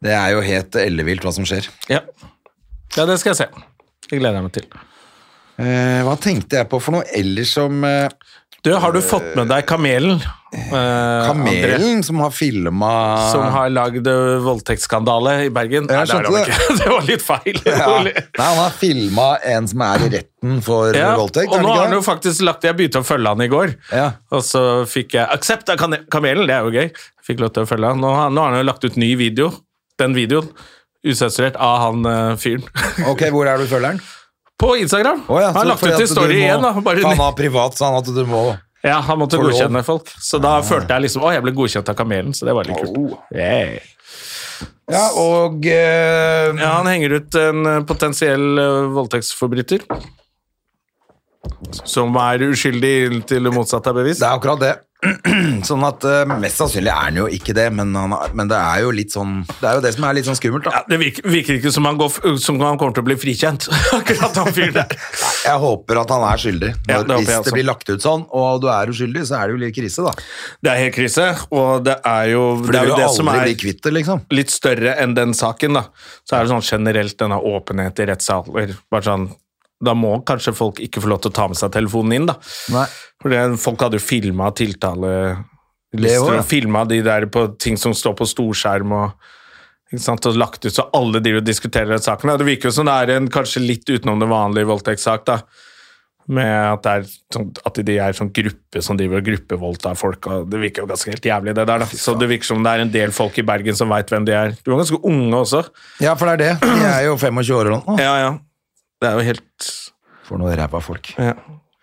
Det er jo helt ellevilt hva som skjer.
Ja. ja, det skal jeg se. Det gleder jeg meg til.
Eh, hva tenkte jeg på for noe ellers som eh,
Du, har du fått med deg Kamelen? Eh, André,
Kamelen som har filma
som har lagd eh, voldtektsskandale i Bergen? Nei,
Ja, jeg
det, har
skjønte
han ikke. [LAUGHS] det var litt feil. [LAUGHS]
ja. Nei, han har filma en som er i retten for
Ja,
voldtekt.
og
er det
nå
ikke
har han
det?
jo faktisk lagt Jeg begynte å følge han i går,
Ja.
og så fikk jeg aksept av kane- Kamelen. Det er jo gøy. Jeg Fikk lov til å følge han. Nå har, nå har han jo lagt ut ny video, den videoen, usensurert, av han eh, fyren. [LAUGHS]
Ok, Hvor er du følgeren?
På Instagram.
Å ja,
han har
så
lagt
fordi
ut
at
i story
du må-
igjen. Da. Bare,
Han har privat, sa han at du må
ja, han måtte
For lov.
godkjenne folk. Så da følte jeg liksom Å, jeg ble godkjent av Kamelen, så det var litt kult. Yeah.
Ja, og eh,
Ja, han henger ut en eh, potensiell eh, voldtektsforbryter. Som er uskyldig inntil det motsatte er
Det
bevist.
er akkurat det. [CLEARS THROAT] sånn at eh, Mest sannsynlig er han jo ikke det, men, han har, men det er jo litt sånn Det er jo det som er litt sånn skummelt,
Ja,
da.
det virker, virker ikke som han, går, f- som han kommer til å bli frikjent. [LAUGHS] Akkurat han fyren der.
Jeg håper at han er skyldig. Når,
Ja, det håper jeg
hvis
også.
det blir lagt ut sånn, og du er uskyldig, så er det jo litt krise, da.
Det er helt krise, og det er jo det,
For
er
du
jo
vil
det
jo
som
aldri
er
bli kvitt det, liksom.
litt større enn den saken. da. Så er det sånn generelt denne åpenhet i rettssaler. bare sånn, Da må kanskje folk ikke få lov til å ta med seg telefonen inn. da.
Nei.
For det, folk hadde jo filma
Det også,
tiltalelister
ja.
og filma de der på ting som står på storskjerm og ikke sant, og lagt ut, så alle driver og diskuterer den saken. Ja, Det virker jo som det er en kanskje litt utenom det vanlige voldtektssak, da. Med at, det er, sånn- at de er sånn gruppe som driver og gruppevoldtar folk. og Det virker jo ganske helt jævlig, det der. da. Så det virker som det er en del folk i Bergen som veit hvem de er. De var ganske unge også.
Ja, for det er det. De
[CLEARS THROAT]
er jo 25 år eller noe.
Ja, ja. Det er jo helt
For noe ræva folk.
Ja,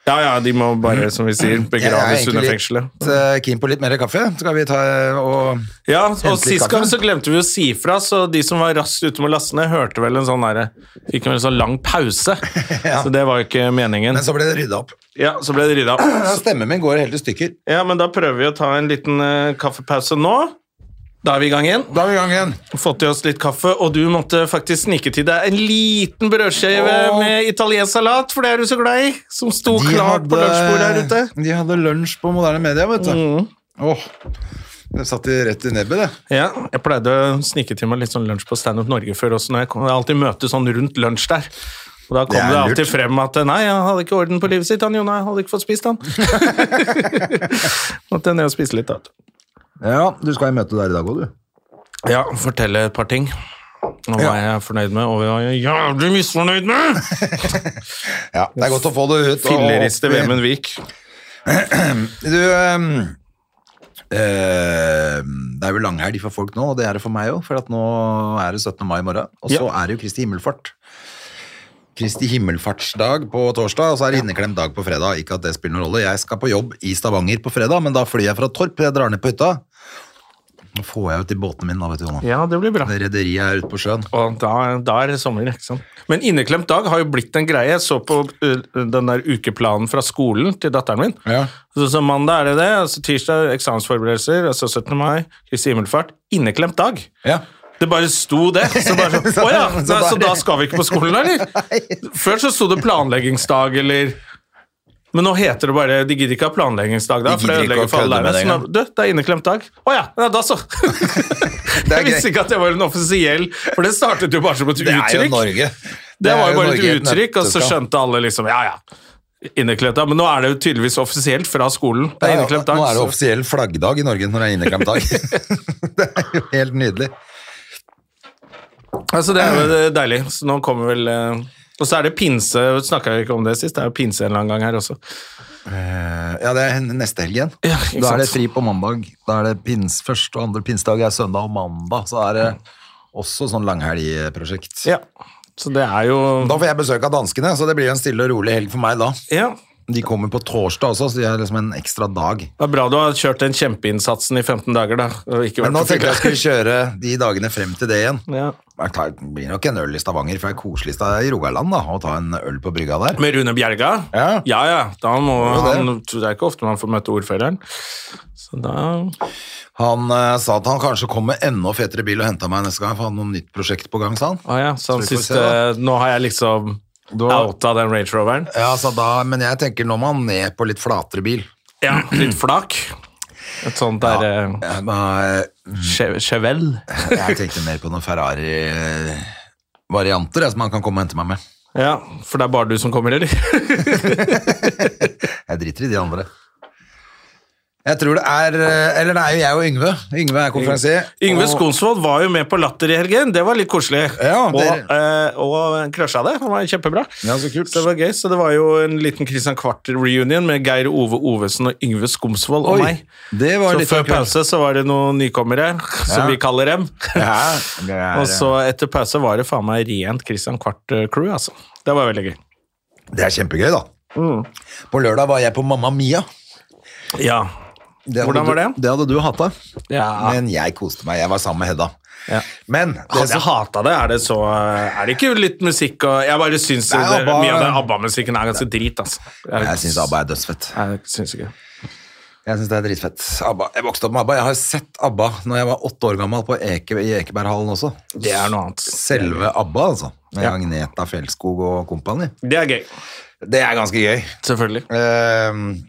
ja, ja de må bare, som vi sier, begraves under fengselet.
litt eh, keen på litt mer kaffe. Skal vi ta eh, og
Ja, og
Hente litt
sist gang
kaffe.
så glemte vi å si fra, så de som var raskt ute med lastene, hørte vel en sånn derre Fikk vel en sånn lang pause.
[LAUGHS] Ja.
Så det var jo ikke meningen.
Men så ble det rydda opp.
Ja, så ble det rydda opp.
Ja, Stemmen min går helt i stykker.
Ja, men da prøver vi å ta en liten eh, kaffepause nå. Da er vi i gang igjen.
Da er vi i gang igjen.
Fått i oss litt kaffe, og du måtte faktisk snike til deg en liten brødskive
Åh.
med italiensk salat, for det er du så glad i, som sto
De
klart på
hadde-
lunsjbordet her ute. Mm.
De hadde lunsj på moderne media, vet du. Åh, det satt de rett i nebbet, det.
Ja, jeg pleide å snike til meg litt sånn lunsj på Stand Up Norge før også, når jeg, kom, jeg alltid møter sånn rundt lunsj der. Og da kom
Det
det,
er
alltid
lurt.
frem at nei, han hadde ikke orden på livet sitt, han Jonna, han hadde ikke fått spist
[LAUGHS]
han. Måtte jeg ned og spise litt da.
Ja, du skal i møte der i dag òg, du.
Ja, fortelle et par ting. Om hva jeg er fornøyd med, og hva jeg er jævlig misfornøyd med!
Ja, Det er godt å få det ut. og
Filleriste
opp i-
Vemund Vik.
Du ehm, ehm, Det er jo langhelg for folk nå, og det er det for meg òg, for at nå er det 17. mai i morgen. Og så
Ja.
er det jo Kristi himmelfart. Kristi himmelfartsdag på torsdag, og så er det inneklemt dag på fredag. Ikke at det spiller noen rolle. Jeg skal på jobb i Stavanger på fredag, men da flyr jeg fra Torp. Jeg drar ned på hytta. Nå får jeg ut de båtene mine, da, vet du. Jonas.
Ja, det blir bra.
Det rederiet er ute på sjøen.
Og da, da er det sommer, ikke sant. Men inneklemt dag har jo blitt en greie. Jeg så på ø, den der ukeplanen fra skolen til datteren min. Så, så mandag er det det, altså tirsdag eksamensforberedelser, altså 17. mai, Kristi himmelfart. Inneklemt dag.
Ja.
Det bare sto det. Så bare så, Å ja,
[LAUGHS] Så
nei, så
bare-
da skal vi ikke på skolen,
[LAUGHS]
eller? Før så sto det planleggingsdag, eller men nå heter det bare De gidder ikke ha planleggingsdag, da.
De
For det
gidder ikke
ødelegger
å
for alle
kødde med
lærere.
det
Så nå- Du, det er inneklemt dag. Å ja, ja, da så.
[LAUGHS] er
Jeg visste
gøy.
ikke at det var en offisiell For det startet jo bare som et
Det er jo
uttrykk.
Norge.
Det var jo bare
Norge i
et uttrykk, og så
nøtteskall.
skjønte alle liksom Ja, ja. Inneklemt dag. Men nå er det jo tydeligvis offisielt fra skolen. Det
Ja,
er
ja,
inneklemt dag.
Nå er det
så-
offisiell flaggdag i Norge når det er inneklemt dag. [LAUGHS] det er jo helt nydelig.
Altså, det er jo deilig. Så nå kommer vel eh, Og så er det pinse. Snakka vi ikke om det sist? Det er jo pinse en eller annen gang her også.
Eh, Ja, det er neste helg igjen.
Ja, ikke
da er det
sant.
fri på mandag. Da er det pins, første og andre pinsedag er søndag og mandag. Så er det også sånn langhelgprosjekt.
Mm. Ja. Så det er jo
Da får jeg besøk av danskene, så det blir en stille og rolig helg for meg da.
Ja.
De kommer på torsdag også, så de har liksom en ekstra dag.
Det er bra du har kjørt den kjempeinnsatsen i 15 dager, da. og ikke
Men
vært
nå
på
tenkte jeg
fylla.
jeg skulle kjøre de dagene frem til det igjen.
ja.
Jeg tar, det blir nok en øl i Stavanger, for det er koselig i Sta- i Rogaland da, å ta en øl på brygga der.
Med Rune Bjerga?
Ja.
ja. ja. Da må
Jo, det.
han, det er ikke ofte man får møte ordføreren. Så da
Han eh, sa at han kanskje kom med enda fetere bil og henta meg neste gang, for han hadde noe nytt prosjekt på gang, sa han.
ah, ja, Så han
Så vi får
synes
se, da.
eh, Nå har jeg liksom
Du har-
outa den Range Roveren.
Ja, sa da, men jeg tenker nå må han ned på litt flatere bil.
Ja, litt flak. Et sånt der eh,
Jeg, bare-
Che- Chevelle.
jeg tenkte mer på noen Ferrari-varianter jeg, som han kan komme og hente meg med.
Ja, for det er bare du som kommer, eller?
Jeg driter i de andre. Jeg tror det er eh, Eller det er jo jeg og Yngve. Yngve er konferansier.
Yngve
og-
Skonsvold var jo med på Latter i helgen. Det var litt koselig.
Ja,
og
dere-
eh, og krasja det. Han var kjempebra.
Ja, så kult.
det var gøy. Så det var jo en liten Christian Quart-reunion med Geir Ove Ovesen og Yngve Skomsvold og
Oi,
meg.
det var
Så
litt
før
av en
pause så var det noen nykommere, som
Ja.
vi kaller dem.
Ja, det er-
og så etter pause var det faen meg rent Christian Quart-crew, altså. Det var veldig gøy.
Det er kjempegøy, da. På lørdag var jeg på Mamma Mia.
Ja.
Det hadde
Hvordan var
du-
det?
Det hadde du hata.
Ja.
Men jeg koste meg. Jeg var sammen med Hedda.
Ja.
Men det
Hadde
som-
jeg hata det, er det så Er det ikke litt musikk og Jeg bare syns
Nei,
det-
ABBA-
mye av den ABBA-musikken er ganske drit, altså.
jeg syns ABBA er dødsfett.
Jeg syns ikke det.
Jeg synes det er dritfett. ABBA. Jeg vokste opp med ABBA. Jeg har sett ABBA når jeg var åtte år gammel på Eke, i Ekeberghallen også.
Det er noe annet.
Selve ABBA, altså. Med
Ja.
Agneta Fjellskog og kompani.
Det er gøy.
Det er ganske gøy.
Selvfølgelig.
Ehm,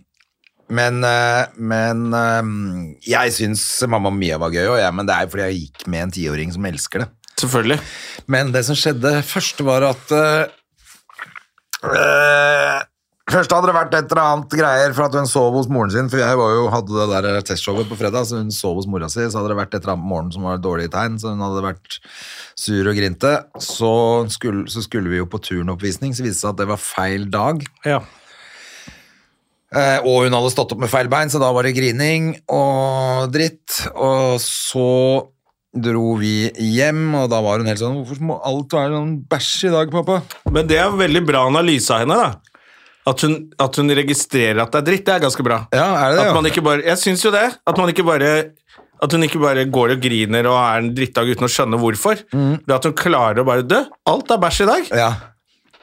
men eh, men ehm, jeg syns Mamma Mia var gøy, og jeg, men det er jo fordi jeg gikk med en tiåring som elsker det.
Selvfølgelig.
Men det som skjedde først var at eh, eh, Først hadde det vært et eller annet greier for at hun sov hos moren sin, for jeg var jo, hadde det der testshowet på fredag, så hun sov hos mora si, så hadde det vært et eller annet morgen som var dårlige tegn, så hun hadde vært sur og grinte. Så skulle, så skulle vi jo på turnoppvisning, så viste det seg at det var feil dag.
Ja.
Eh, og hun hadde stått opp med feil bein, så da var det grining og dritt. Og så dro vi hjem, og da var hun helt sånn Hvorfor må alt være sånn bæsj i dag, pappa?
Men det er veldig bra analyse av henne, da. At hun, at hun registrerer at det er dritt, det er ganske bra.
Ja, er det det?
At
ja?
man ikke bare, jeg syns jo det. At man ikke bare at hun ikke bare går og griner og er en drittdag uten å skjønne hvorfor. Det at hun klarer å bare dø. Alt er bæsj i dag.
Mm. Ja.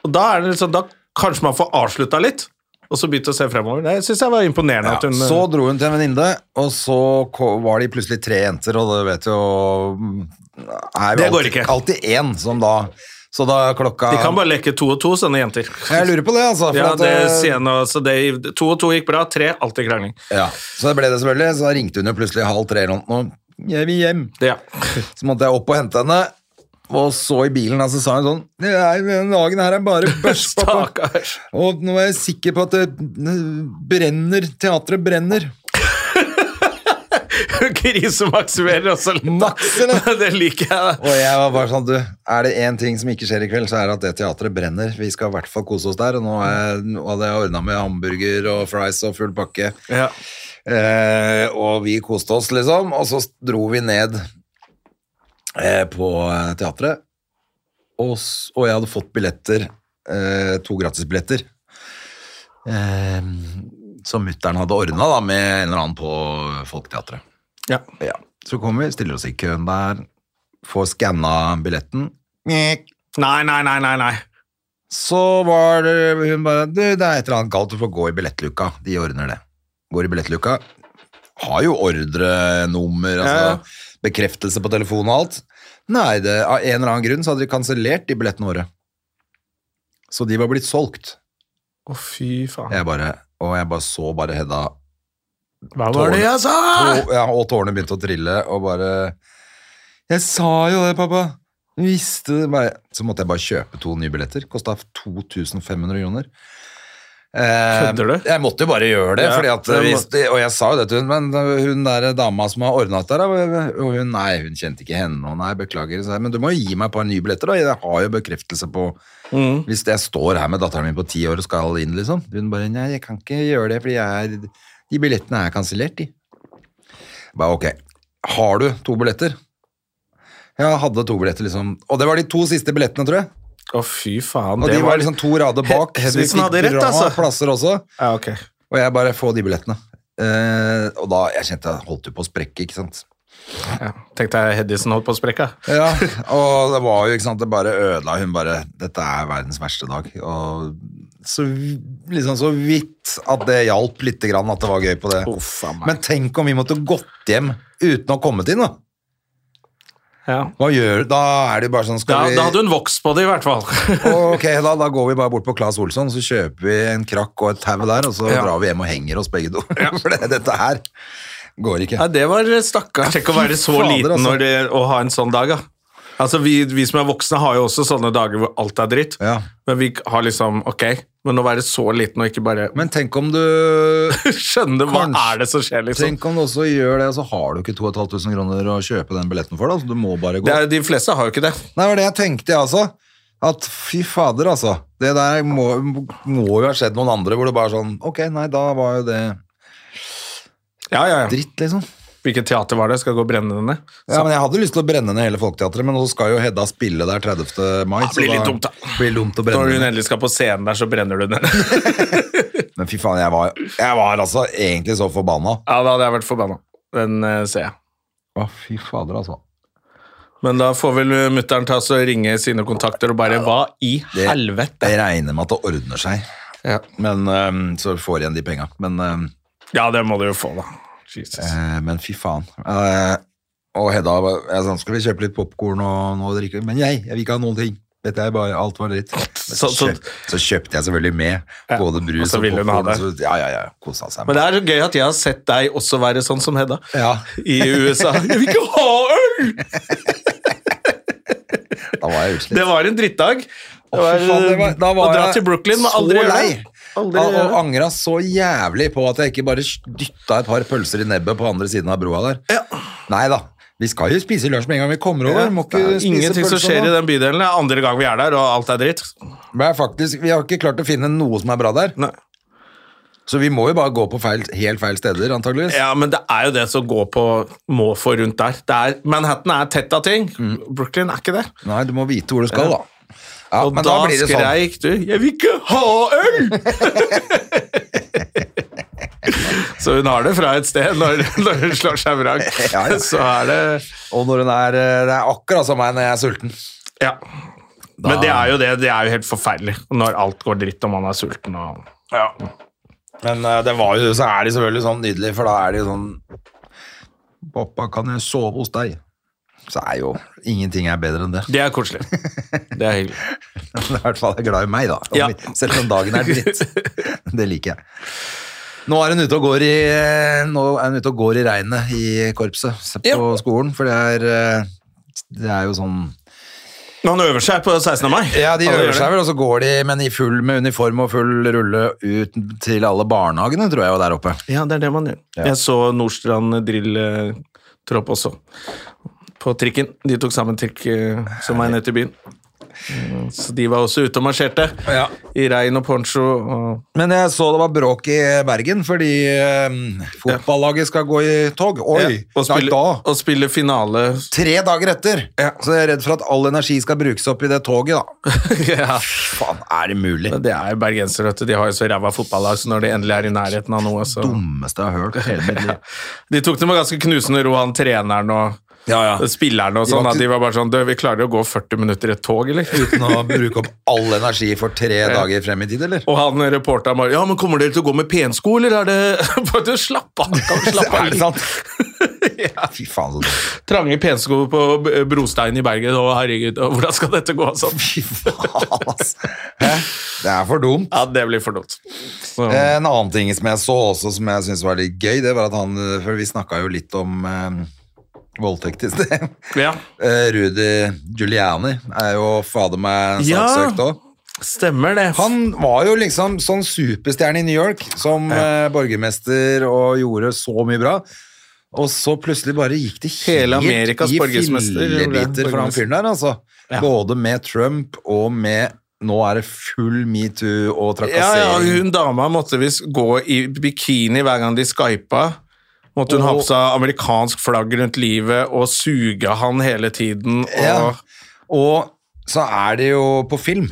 Og da, er det liksom, da kanskje man får avslutta litt, og så begynt å se fremover. Det syns jeg var imponerende.
Ja,
at hun... eh,
så dro hun til en venninne, og så ko- var de plutselig tre jenter, og det vet jo mm, er jo
Det går
alltid-
ikke.
Alltid én som da Så da klokka
De kan bare leke to og to, sånne jenter.
Jeg lurer på det, altså. for
Ja,
at,
det
eh,
sier jeg nå. Så det, to og to gikk bra, tre alltid krangling.
ja. Så det ble det selvfølgelig. Så da ringte hun jo plutselig halv tre eller noe. Nå jeg vil hjem.
Det, ja.
Så måtte jeg opp og hente henne. Og så i bilen da, så sa hun sånn Nei, den dagen her er bare bæsj,
[LAUGHS]
pappa.
Stakkars.
Og nå er jeg sikker på at det brenner. Teatret brenner.
Krisemaksimerer også [LAUGHS] litt. da.
Makser det.
Det liker jeg. da.
Og jeg var bare sånn Du, er det én ting som ikke skjer i kveld, så er det at det teatret brenner. Vi skal i hvert fall kose oss der. Og nå har jeg- nå hadde jeg ordna med hamburger og fries og full pakke.
Ja.
Eh, og vi koste oss, liksom. Og så dro vi ned eh, på eh, teatret. Og, s- og jeg hadde fått billetter, eh, to gratisbilletter, eh, som mutter'n hadde ordna da, med en eller annen på Folketeatret.
Ja.
Ja. Så kommer vi, stiller oss i køen der, får skanna billetten. Nek.
Nei, nei, nei, nei. nei.
Så var det hun bare Du, det er et eller annet galt, du får gå i billettluka. De ordner det. Går i billettluka. Har jo ordrenummer, altså
Ja, ja.
bekreftelse på telefon og alt. Nei, det, av en eller annen grunn så hadde de kansellert de billettene våre. Så de var blitt solgt.
Å, fy faen.
Jeg bare, og jeg bare så bare Hedda
Hva var det jeg sa?!
og, ja, og tårene begynte å trille, og bare Jeg sa jo det, pappa! Du Visste det bare. Så måtte jeg bare kjøpe to nye billetter. Kosta 2500 kroner. Eh,
Kødder du?
Jeg måtte jo bare gjøre det.
Ja,
fordi at eh,
det må-
hvis det- Og jeg sa jo det til hun, men eh, hun der dama som har ordna dette, her, og hun, nei, hun kjente ikke henne, og nei, beklager. Så jeg, men du må jo gi meg et par nye billetter, da. Jeg har jo bekreftelse på
Mm.
Hvis jeg står her med datteren min på ti år og skal inn, liksom. Hun bare nei, jeg kan ikke gjøre det, fordi jeg er De billettene er kansellert, de. Bare, ok, har du to billetter? Jeg hadde to billetter, liksom. Og det var de to siste billettene, tror jeg.
Å, fy faen.
Og de var liksom to rader bak,
He-
så vi
Hedvigsen hadde
fikk
rett,
bra
altså.
plasser også.
Ja, ok.
Og jeg bare få de billettene. Eh, og da jeg kjente jeg holdt jo på å sprekke, ikke sant.
Ja. Tenkte jeg Hedisen holdt på å sprekke.
Ja, [LAUGHS] og det var jo, ikke sant, det bare ødela hun bare Dette er verdens verste dag. Og så vi- liksom så vidt at det hjalp lite grann at det var gøy på det.
Uff, faen meg.
Men tenk om vi måtte gått hjem uten å ha kommet inn, da.
Ja.
Hva gjør du? Da er det jo bare
Da,
sånn skal vi...
da hadde hun vokst på det, i hvert fall.
Ok, da, da går vi bare bort på Claes Olsson, så kjøper vi en krakk og et tau der, og så
Ja.
drar vi hjem og henger oss begge to. [LAUGHS] For det, dette her går
[LAUGHS]
ikke.
Ja, det var eh, stakkars. Tenk å være så
Fader,
liten
altså.
når det, å ha en sånn dag, da. Altså, vi, vi som er voksne har jo også sånne dager hvor alt er dritt,
Ja.
men vi har liksom, ok, men å være så liten og ikke bare [LAUGHS]
Men tenk om du
skjønne hva
Kanskje-
er det som skjer, liksom.
Tenk om du også gjør det, og så har du ikke 2500 kroner å kjøpe den billetten for, da. Så du må bare gå.
Det er, de fleste har jo ikke det.
Nei, det var det jeg tenkte, jeg altså. At fy fader, altså. Det der må, må jo ha skjedd noen andre, hvor det bare sånn Ok, nei, da var jo det
Ja, ja, ja.
dritt, liksom.
Hvilket teater var det? Skal jeg gå og brenne den ned?
Ja, men Jeg hadde lyst til å brenne ned hele Folketeatret, men så skal jo Hedda spille der 30. mai.
Det blir
så
litt
da
dumt, da.
Blir det dumt å brenne
Når
ned.
hun endelig skal på scenen der, så brenner du den. ja,
[LAUGHS] Men fy faen, jeg var, jeg var altså egentlig så forbanna.
da hadde jeg vært forbanna. Den eh, ser jeg.
Å, fy fader, altså.
Men da får vel mutter'n ta oss og ringe sine kontakter og bare Hva i
Det-
helvete?
Jeg regner med at det ordner seg,
Ja,
men ehm, så får jeg igjen de penga. Men, ehm,
ja det må du jo få, da. Jesus.
eh, men fy faen. Eh, og Hedda var- jeg sa skal vi kjøpe litt popkorn og noe å drikke, men jeg, jeg vil ikke ha noen ting. Dette er bare, alt var dritt. Så,
Så- så-
kjøp, så kjøpte jeg selvfølgelig med
Ja,
både
og
brus
så
og,
ville hun ha
popcorn,
det.
så- Ja, ja, ja. Kosa seg.
Men det er så gøy at jeg har sett deg også være sånn som Hedda
ja,
i
[LAUGHS]
USA. Jeg vil ikke ha øl!
da var jeg utslitt.
Det var en drittdag. Det
Å, fy faen, det var- da var
å dra
jeg
til Brooklyn var aldri
så
gjøre
lei.
det. Aldri
og,
gjøre
og
det.
angra så jævlig på at jeg ikke bare dytta et par pølser i nebbet på andre siden av broa der. Nei da, vi skal jo spise lunsj med en gang vi kommer over. Må ikke
Det er
spise
Ingenting som
pølser
skjer
nå.
i den bydelen. Det er andre gang vi er der, og alt er dritt.
Men jeg faktisk, Vi har ikke klart å finne noe som er bra der,
Nei.
så vi må jo bare gå på feil, helt feil steder, antageligvis.
Ja, men det er jo det som går på må få rundt der. Det er, Manhattan er tett av ting. Brooklyn er ikke det.
Nei, du må vite hvor du skal, da. Ja,
og
men
da,
da, blir det sånn.
skreik du 'Jeg vil ikke ha [LAUGHS] øl!' Så hun har det fra et sted når, når hun slår seg vrang.
Ja, ja.
Så er det
Og når den er, eh, det er akkurat som meg når jeg er sulten.
Ja. Men det er jo det. Det er jo helt forferdelig når alt går dritt og man er sulten og
Men eh, det var jo, så er det selvfølgelig sånn nydelig, for da er det jo sånn Pappa, kan jeg sove hos deg? Så er jo ingenting er bedre enn det.
Det er koselig. Det er hyggelig.
Men [LAUGHS] I hvert fall er jeg glad i meg, da. Om-
Ja.
Selv om dagen
[LAUGHS]
er dritt. Det liker jeg. Nå er hun ute og går i, nå er hun ute og går i regnet i korpset se- på
Ja.
skolen, for det er, eh, det er jo sånn
[LAUGHS] Man øver seg på 16. mai.
Ja, de
Alle gjør
øver
det.
seg vel, og så går de, men i full med uniform og full rulle ut til alle barnehagene, tror jeg, og der oppe.
Ja, det er det man gjør. Jeg så Nordstrand drilltropp også. På trikken. De tok samme trikk eh, som meg ned til byen. Mm, Så de var også ute og marsjerte.
Ja.
I regn og poncho. Og
Men jeg så det var bråk i Bergen, fordi eh, fotballaget skal gå i tog. Oi!
og,
nei,
spille,
da.
og spille finale
Tre dager etter! Så jeg er redd for at all energi skal brukes opp i det toget, da.
[LAUGHS] ja.
Faen, er det mulig?
Det er jo bergensere, vet du. De har jo så ræva fotballag, så når de endelig er i nærheten av noe, så
dummeste jeg har hørt i hele mitt liv.
De tok det med ganske knusende ro, han treneren og
Ja, ja.
spillerne og
De var
sånn. at
ikke-
De var bare sånn Du, vi klarer jo å gå 40 minutter i et tog, eller?
[LAUGHS] Uten å bruke opp all energi for tre dager frem i tid, eller?
[LAUGHS] Og han reporteren bare Ja, men kommer dere til å gå med pensko, eller er det [LAUGHS] Bare du, slapp av! Kan du [LAUGHS] slappe
Er
av
det
litt?
sant?
[LAUGHS]
Fy faen, så dumt.
Trange pensko på B- brostein i Bergen, og herregud, og hvordan skal dette gå? og Sånn.
Fy faen, ass. Hæ? Det er for dumt. Eh,
Ja, det blir for dumt. Så,
En annen ting som jeg så også, som jeg syntes var litt gøy, det var at han eh, For vi snakka jo litt om eh, voldtekt i sted. [LAUGHS]
ja,
Eh, Rudi Giuliani er jo fader meg
Ja.
saksøkt òg.
stemmer det.
Han var jo liksom sånn superstjerne i New York, som eh, borgermester og gjorde så mye bra. Og så plutselig bare gikk det
Hele Amerikas
i
borgermester gjorde
fillebiter for han
borgermester.
fyren der, altså.
Ja.
Både med Trump og med Nå er det full metoo og
Ja, ja,
trakassering.
hun dama måtte visst gå i bikini hver gang de skypa. Måtte hun ha
Og-
på seg amerikansk flagg rundt livet og suge han hele tiden. Og,
Ja. Og så er det jo på film.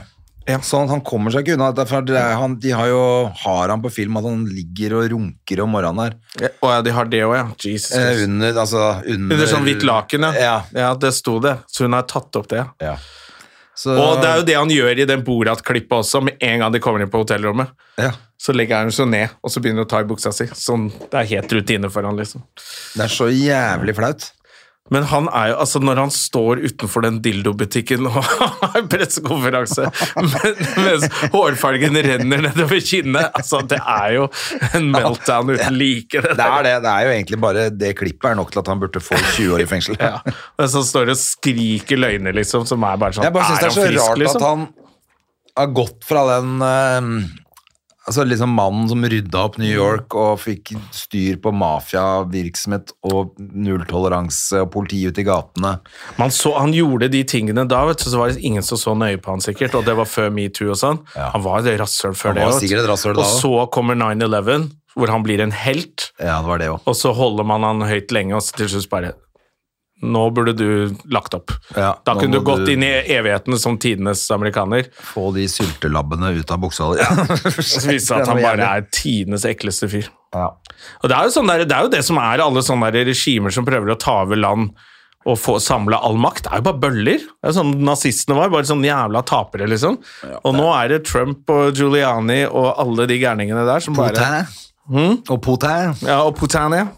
Sånn at han kommer seg ikke unna dette. For det er, han, de har jo har han på film at han ligger og runker om morgenen her.
Å ja, de har det òg, ja. Jesus.
Eh, under altså, under,
Under sånn hvitt laken, ja.
Ja.
Det sto det. Så hun har tatt opp det. ja.
Ja. Så,
Og det er jo det han gjør i den Borat-klippet også, med en gang de kommer inn på hotellrommet.
ja,
Så legger han seg ned, og så begynner han å ta i buksa si. Sånn, Det er helt rutine for han, liksom.
det er så jævlig flaut.
Men han er jo, altså når han står utenfor den dildobutikken og [LAUGHS] har pressekonferanse men- mens hårfargen renner nedover kinnet altså Det er jo en meltdown uten like. Det
Det
der.
er det. Det er jo egentlig bare det klippet er nok til at han burde få 20 år i fengsel.
[LAUGHS] Ja. Mens han står og skriker løgner, liksom, som er bare sånn
Jeg bare synes det er så
han frisk,
rart
liksom?
at han har gått fra den eh, Altså liksom mannen som rydda opp New York og fikk styr på mafiavirksomhet og nulltoleranse og politi ute i gatene.
Man så, han gjorde de tingene da, vet du, så var det ingen som så nøye på han sikkert, og det var før MeToo og sånn.
Ja.
Han var et rasshøl før
Han
det.
var
vet du.
sikkert et rasshøl da
Og
også.
så kommer 9-11, hvor han blir en helt,
Ja, det var det òg.
og så holder man han høyt lenge, og så til slutt bare Nå burde du lagt opp.
Ja,
da
nå
kunne du
må
gått
du-
inn i evigheten som tidenes amerikaner.
Få de syltelabbene ut av buksa di. [LAUGHS]
Og så viste det seg at han bare er tidenes ekleste fyr.
ja.
Og det er, jo sånn der, det er jo det som er alle sånne der regimer som prøver å ta over land og få samle all makt. Det er jo bare bøller. Det er jo sånn Nazistene var bare sånne jævla tapere, liksom. og nå er det Trump og Giuliani og alle de gærningene der som bare
Potin. Og Potin.
Ja, og Putin, ja.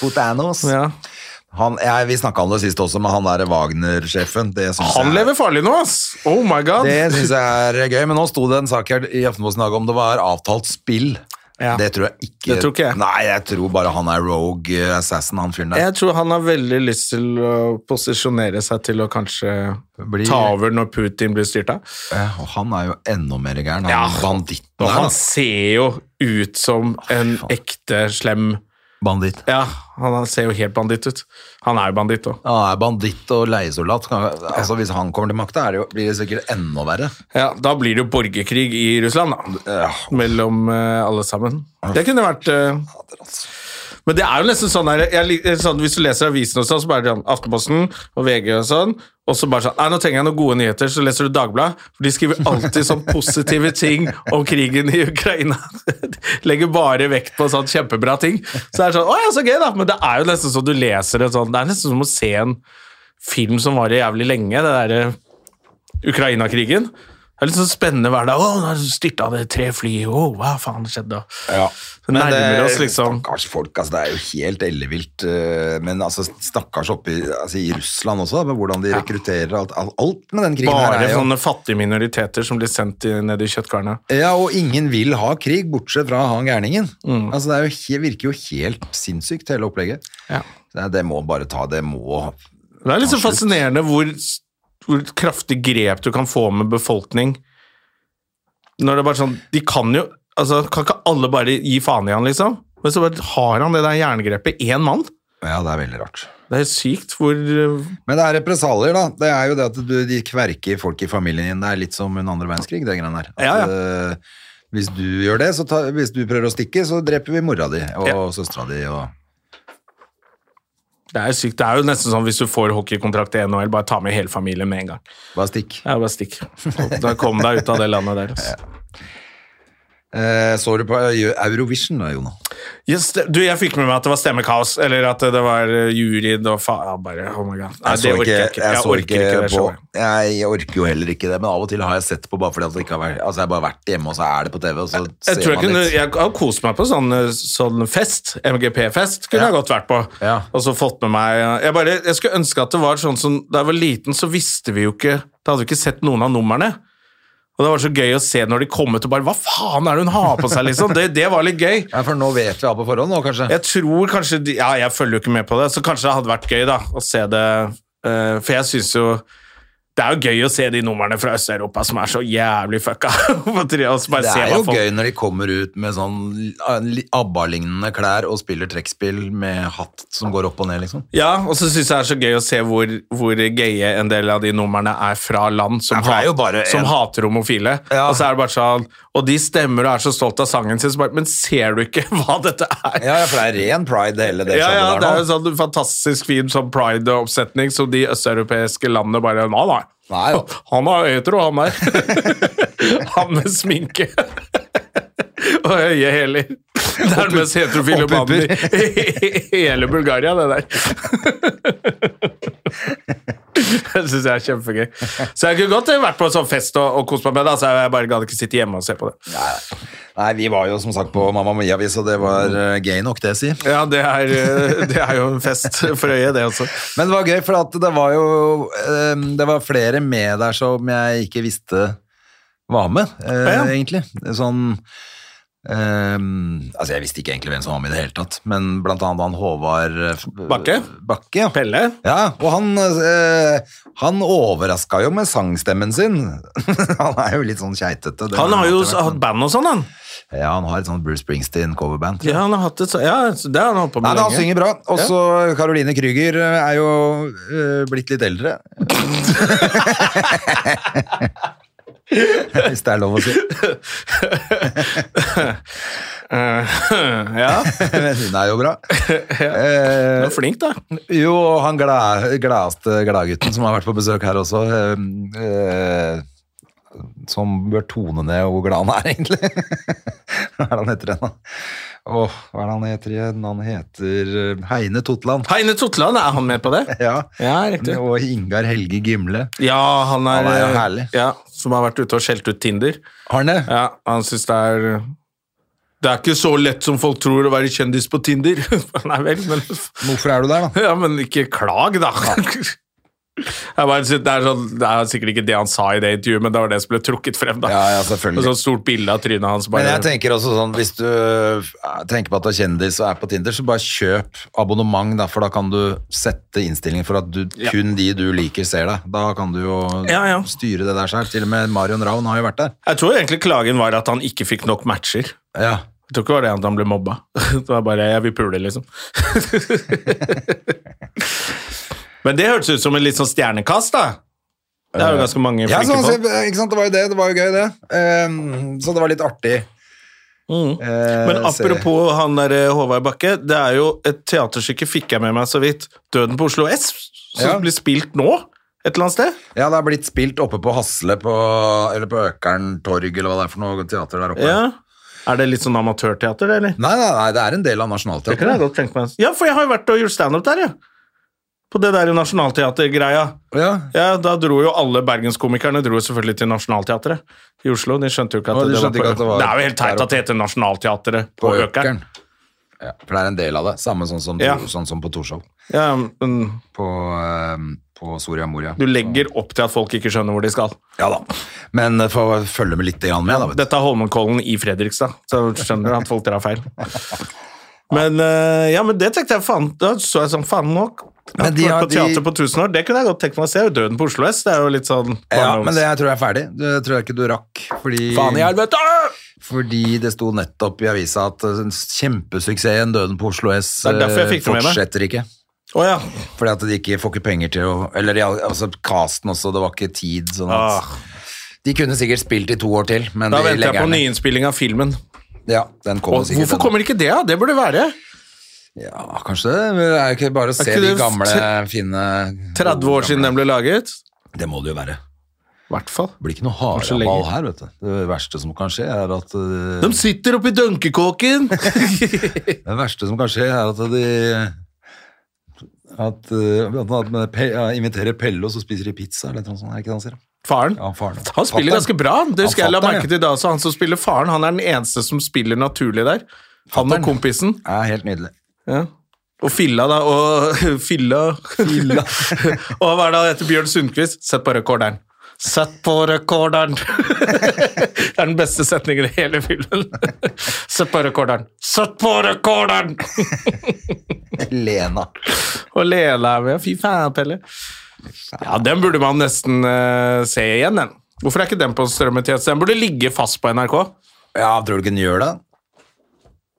Potinos.
ja.
Han, jeg- vi snakka om det sist også, men han derre Wagner-sjefen det synes
Han
jeg-
lever farlig nå, ass! Oh my god.
Det syns jeg er gøy, men nå sto det en sak her i Aftenposten i dag om det var avtalt spill.
Ja.
Det tror jeg ikke
Det tror ikke jeg.
Nei, jeg tror bare han er rogue eh, assassin, han fyren der.
Jeg tror han har veldig lyst til å posisjonere seg til å kanskje
Blir-
ta over når Putin blir styrt av.
Eh, Og han er jo enda mer gæren. Han
Ja.
banditten
Og
der.
han
da.
ser jo ut som en
faen.
ekte slem
Banditt.
Ja, han ser jo helt banditt ut. Han er jo banditt òg.
Han er banditt og leiesoldat. Kan- Altså, hvis han kommer til makta, er det jo- blir det sikkert enda verre.
Ja, da blir det jo borgerkrig i Russland, da.
Ja.
Mellom eh, alle sammen. Det kunne vært eh, Men det er jo nesten sånn, her, jeg, lik- sånn Hvis du leser avisen og sånn, så bare er det sånn Aftenposten og VG og sånn, og så bare sånn Nei, nå trenger jeg noen gode nyheter, så leser du Dagbladet. For de skriver alltid sånn positive ting om krigen i Ukraina. [LAUGHS] Legger bare vekt på sånn kjempebra ting. Så det er sånn Å ja, så gøy, da. Men det er jo nesten sånn du leser det sånn Det er nesten som å se en film som varer jævlig lenge, det derre Ukraina-krigen. Det er litt sånn spennende hver dag. Å, nå styrta det tre fly. Å, hva faen skjedde da? Så
Men
nærmer
det-
oss liksom
Stakkars folk, altså, det er jo helt ellevilt. eh, Men altså, stakkars oppe i, altså, i Russland også, da, med hvordan de rekrutterer og alt, alt- alt med den krigen her.
Bare
er jo-
sånne fattige minoriteter som blir sendt i, ned i kjøttkarene.
Ja, og ingen vil ha krig, bortsett fra han gærningen.
Mm.
Altså, det er jo, he- virker jo helt sinnssykt, hele opplegget.
Ja.
Det, det må bare ta, det må
Det er liksom
Absolutt.
fascinerende hvor, hvor kraftig grep du kan få med befolkning. Når det er bare sånn, De kan jo altså Kan ikke alle bare gi faen i han, liksom? Men så bare har han det der jerngrepet. Én mann.
Ja, det er veldig rart.
Det er helt sykt hvor øh,
Men det er represalier, da. Det er jo det at du, de kverker folk i familien din. Det er litt som en andre verdenskrig, det greiene der. At,
Ja, ja.
eh, hvis du gjør det, så ta, hvis du prøver å stikke, så dreper vi mora di og
Ja.
søstera di og
Det er sykt. Det er jo nesten sånn hvis du får hockeykontrakt i NHL, bare ta med hele familien med en gang.
Bare stikk.
Ja, bare stikk. Da kom deg ut av det landet der. Altså.
Eh, så du på Eurovision da, Jona?
Yes, det, du, jeg fikk med meg at det var stemmekaos, eller at det var eh, juryen og faen ja, bare, Oh my god. Nei, det
Jeg så
orker jeg ikke. Jeg,
så
orker ikke det
på,
showet.
jeg orker jo heller ikke det, men av og til har jeg sett på bare fordi at det ikke har vært, altså jeg har bare vært hjemme, og så er det på TV, og så
Jeg tror
ser
jeg
man
kunne
litt.
Jeg har kost meg på sånn, sånn fest. MGP-fest kunne
Ja.
jeg godt vært på.
Ja.
Og så fått med meg eh, jeg, bare, jeg skulle ønske at det var sånn som Da jeg var liten, så visste vi jo ikke Da hadde vi ikke sett noen av numrene. Og det var så gøy å se når de kom ut og bare Hva faen er det hun har på seg, liksom? Det, det var litt gøy.
Ja, for nå vet vi alt på forhånd nå, kanskje.
Jeg tror kanskje de, Ja, jeg følger jo ikke med på det, så kanskje det hadde vært gøy da å se det. eh, for jeg syns jo Det er jo gøy å se de numrene fra Øst-Europa som er så jævlig fucka. [LAUGHS] på tre, og så bare
Det
se
er
hva
jo
folk-
gøy når de kommer ut med sånn ah, li- ABBA-lignende klær og spiller trekkspill med hatt som går opp og ned, liksom.
Ja, og så syns jeg det er så gøy å se hvor, hvor gaye en del av de numrene er fra land som,
Ja, for det er jo
hat-
bare
som
en-
hater homofile.
Ja.
Og så er det bare sånn Og de stemmer og er så stolt av sangen sin, så bare Men ser du ikke [LAUGHS] hva dette er?
Ja, ja, for det er ren pride hele det
Ja, ja,
showet
det er jo
der nå.
sånn fantastisk fin sånn pride-oppsetning som de østeuropeiske landene bare Nei, nei.
Nei, jo.
[LAUGHS] Han er etro, han der. [LAUGHS] han med sminke. [LAUGHS] Og øye heller. Det er den mest heterofile
og
mannen
pupper.
i [LAUGHS] hele Bulgaria, det der. [LAUGHS] Det syns jeg er kjempegøy. Så jeg kunne godt vært på en sånn fest og, og kost meg med det. Altså, jeg bare gadd ikke sitte hjemme og se på det.
Nei, vi var jo som sagt på Mamma Mia, vi, så det var
Mm.
eh, gøy nok, det, si.
Ja, det er, eh, det er [LAUGHS] jo en fest for øyet, det også.
Men det var gøy, for at det var jo eh, Det var flere med der som jeg ikke visste var med, eh,
Ja, ja.
egentlig. Sånn eh, Altså, jeg visste ikke egentlig hvem som var med i det hele tatt, men blant annet han Håvard eh,
Bakke?
Bakke ja.
Pelle?
Ja, og han, eh, han overraska jo med sangstemmen sin. [LAUGHS] han er jo litt sånn keitete. det
Han
har
har jo
alltid vært,
hatt
men-
band og sånn, han.
Ja, han har et sånt Bruce Springsteen-coverband. tror jeg.
Ja, han har hatt et, så- ja, så det har han holdt på
Nei,
med
men han
lenge.
synger bra. Og så Caroline Krüger eh, er jo eh, blitt litt
[LAUGHS]
eldre. Hvis det er lov å si.
Eh, [LAUGHS] ja,
Men hun er jo
[LAUGHS]
bra.
han er
Eh,
flink, da.
jo, og han glad- gladeste gladgutten som har vært på besøk her også, eh, eh, som bør tone ned hvor glad han er, egentlig. [LAUGHS] Hva er det han heter igjen, da? Åh, hva er det han heter igjen? Han heter eh, Heine Totland.
Heine Totland, er han med på det?
Ja.
Ja, riktig.
Og Ingar Helge Gimle.
Ja, han er,
Han er jo herlig.
Ja, som har vært ute og skjelt ut Tinder.
Arne,
Ja, han syns det er Det er ikke så lett som folk tror å være kjendis på Tinder. [LAUGHS] Nei vel, men,
hvorfor er du der, da?
ja, men ikke klag, da. [LAUGHS] Jeg bare synes, det, er sånn, det er sikkert ikke det han sa i det intervjuet, men det var det som ble trukket frem. da.
Ja, ja, selvfølgelig.
Og sånn stort bilde av trynet hans.
Men
Bare,
jeg tenker også sånn, hvis du eh, tenker på at du er kjendis og er på Tinder, så bare kjøp abonnement, da, for da kan du sette innstillingen for at du,
Ja.
kun de du liker ser deg. Da kan du jo
Ja, ja.
styre det der selv. Til og med Marion Ravn har jo vært der.
jeg tror egentlig klagen var at han ikke fikk nok matcher.
Ja.
Jeg tror ikke det var det at han ble mobba. [LAUGHS] Det var bare 'jeg vil pule', liksom. [LAUGHS] Men det hørtes ut som en litt sånn stjernekast, da. Det er jo ganske mange
Ja,
flinke
sånn,
folk.
ikke sant, det var jo det. Det var jo gøy, det. Ehm, så det var litt artig. Eh,
Mm. Men
serie.
apropos han der eh, Håvard Bakke, det er jo et teaterstykke fikk jeg med meg så vidt. 'Døden på Oslo S', som
Ja.
blir spilt nå et eller annet sted.
Ja, det har blitt spilt oppe på Hasle, på, eller på Økern torg, eller hva det er for noe teater der oppe.
Ja. Er det litt sånn amatørteater, det, eller?
Nei, nei, nei, det er en del
Det kan jeg
av Nationaltheatret.
godt tenke meg. Ja, for jeg har jo vært og gjort standup der, jeg. På det der Nationaltheatret-greia.
Ja.
Ja, da dro jo alle bergenskomikerne dro jo selvfølgelig til Nationaltheatret i Oslo. De skjønte jo ikke at,
Å, de
det, var
skjønte ikke at det
på,
var-
det er jo helt
der
teit
oppe.
at det heter Nationaltheatret på,
På
Økeren.
Økern. Ja, for det er en del av det. Samme sånn som,
Ja.
sånn som på Torshov.
Ja, men
På, eh, på Soria Moria.
du legger opp til at folk ikke skjønner hvor de skal.
Ja da. Men eh, få følge med litt grann med, da. Vet du.
Dette er Holmenkollen i Fredrikstad, så skjønner du at folk drar feil. Men eh, ja, men det tenkte jeg faen, da så jeg sånn faen nok.
Men de
Vært
har-
på teater
de-
på tusen år, det kunne jeg godt tenkt meg å se. Det er jo Døden på Oslo S, det er jo litt sånn
Ja, men det jeg tror jeg er ferdig. Det tror jeg ikke du rakk. Fordi,
Faen i helvete!
fordi det sto nettopp i avisa at eh, kjempesuksessen Døden på Oslo S
Det er derfor jeg
eh,
fikk det med meg.
fortsetter ikke.
Å ja.
Fordi at de ikke får ikke penger til å Eller ja, altså, casten også, det var ikke tid. Sånn at,
Ah,
De kunne sikkert spilt i to år til, men
da
de
venter jeg
legger
på
den ned.
nyinnspilling av filmen.
Ja, den kommer
Og,
sikkert.
hvorfor
den.
kommer ikke det? da? Det burde være.
Ja, kanskje det. men Det er jo ikke bare å se
ikke
de
det
gamle,
tre-
fine
30 år siden den ble laget.
Det må det jo være.
I hvert fall.
Det blir ikke noe
Kanskje lenger.
haraball her, vet du. Det verste som kan skje, er at eh,
De sitter oppi dunkekåken!
Det verste som kan skje, er at de at, eh, at man pe ja, inviterer Pelle, og så spiser de pizza, eller noe sånt. Er det ikke det han sier?
[LAUGHS] Faren.
Ja, faren.
Han spiller
Fatter'n.
ganske bra. Det husker
Han
jeg la
fatter'n,
merke til da, så Han som spiller faren, han er den eneste som spiller naturlig der. Han
Fatter'n.
og kompisen.
Ja, helt nydelig.
Ja. Og filla, da. Og [LAUGHS] filla [LAUGHS] Og hva er det han heter? Bjørn Sundquist? Sett på rekorderen. Sett på rekorderen! [LAUGHS] det er den beste setningen i hele filmen. Sett på rekorderen. Sett på rekorderen!
Lena.
Og Lena er med. Fy faen, Pelle. Ja, den burde man nesten eh, se igjen, den. Hvorfor er ikke den på strømmetjeneste? Den burde ligge fast på NRK.
Ja, tror du ikke den gjør det?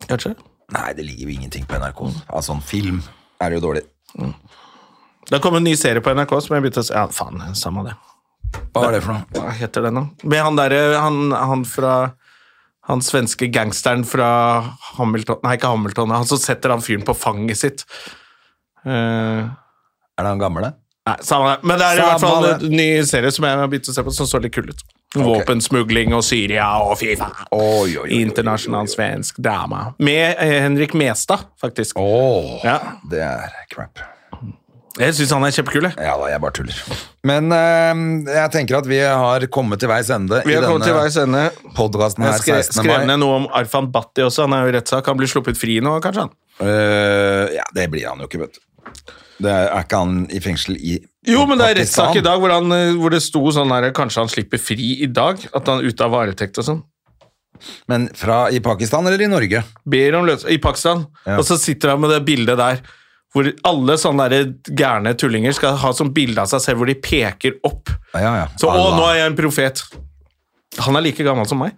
Kanskje?
Nei, det ligger jo ingenting på NRK. Av sånn film er det jo dårlig.
Det kom en ny serie på NRK som jeg begynte å se. Ja, faen, samme det.
Hva er det for noe?
Hva heter den, da? Med han derre han, han fra Han svenske gangsteren fra Hamilton Nei, ikke Hamilton. Han som setter han fyren på fanget sitt. Eh,
Er det han gamle?
Nei, samme det. Men det er i
Samme
hvert fall
det.
en ny serie som jeg har begynt å se på, som så litt kul ut. Våpensmugling og Syria og fy faen.
Oi, oi, oi,
Internasjonal svensk drama. Med eh, Henrik Mestad, faktisk.
Åh,
Ja.
det er crap.
Jeg syns han er kjempekul. jeg.
Ja da, jeg bare tuller. Men eh, jeg tenker at vi har kommet til veis ende
Vi har kommet til veis ende.
podkasten
Jeg
her
skrev,
16.
skrev
mai.
ned noe om Arfan Bhatti også. Han er jo i rettssak. Han blir sluppet fri nå, kanskje? han?
Eh, ja, det blir han jo ikke, vet du. Det er, er ikke han i fengsel i
Jo, men det er
Pakistan?
rettssak i dag hvor, han, eh, hvor det sto sånn her Kanskje han slipper fri i dag? At han er ute av varetekt og sånn.
Men fra i Pakistan eller i Norge?
Ber om løs I Pakistan.
Ja.
Og så sitter han med det bildet der hvor alle sånne der gærne tullinger skal ha sånn bilde av seg selv hvor de peker opp.
Ja, ja.
Så 'Å,
Allah.
nå er jeg en profet'. Han er like gammel som meg.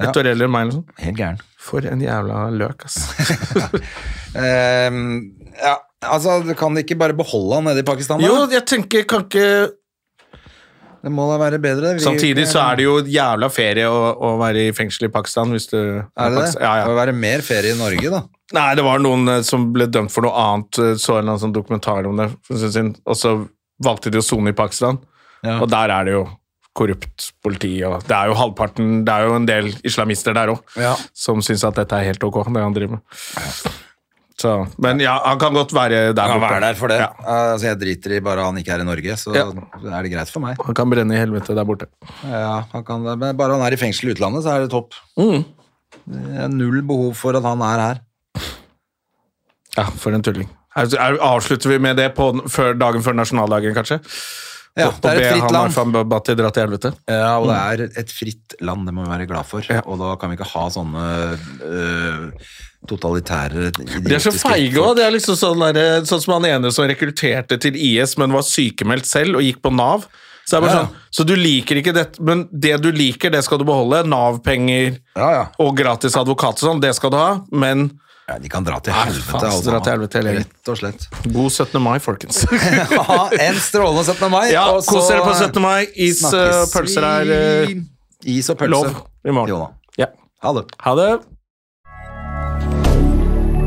Et
Ja.
år eldre enn meg. eller noe sånt.
Helt gæren.
For en jævla løk,
[LAUGHS]
ass.
Eh, ja, altså, du kan ikke bare beholde han nede i Pakistan? Da?
jo, jeg tenker kan ikke
Det må da være bedre? Vi-
Samtidig så er det jo jævla ferie å, å være i fengsel i Pakistan. Hvis du,
Er det det?
Pakistan- Ja,
Det må
ja.
være mer ferie i Norge, da.
Nei, det var noen eh, som ble dømt for noe annet. eh, Så en eller annen sånn dokumentar om det, for en stund siden, og så valgte de å sone i Pakistan.
Ja.
Og der er det jo korrupt politi, og det er jo halvparten Det er jo en del islamister der òg
Ja.
som syns at dette er helt ok, det han driver med. Så, men ja, han kan godt være der
Han
borte.
er der for det.
Ja.
Altså, jeg driter i bare han ikke er i Norge, så
Ja.
er det greit for meg.
Han kan brenne i helvete der borte.
Ja, han kan, men bare han er i fengsel i utlandet, så er det topp.
Mm.
Det er null behov for at han er her.
Ja, for en tulling. Er- er- Avslutter vi med det på, den- før, dagen før nasjonaldagen, kanskje?
Ja,
Og- og
det er
be
et fritt
han
land.
Arfan Bhatti dra til helvete.
Ja, og
Mm.
det er et fritt land, det må vi være glad for. Og da kan vi ikke ha sånne øh, totalitære
De er så feige òg. Det er liksom sånn, der, sånn som han ene som rekrutterte til IS, men var sykemeldt selv og gikk på Nav. Så, det er bare
Ja.
sånn, så du liker ikke dette, men det du liker, det skal du beholde. Nav-penger
Ja, ja.
og gratis advokat og sånn, det skal du ha, men
ja. De kan dra til
Nei,
helvete, altså.
faen, så dra til helvete, hele gjengen.
Rett og slett.
god 17. mai, [LAUGHS] folkens.
Ha en strålende 17. mai.
Ja,
og så
kos dere på 17. mai. Is og
snakkes
pølser er
vi.
eh,
Is og pølse.
lov i morgen.
Jona.
Ja.
Ha det.
Ha det.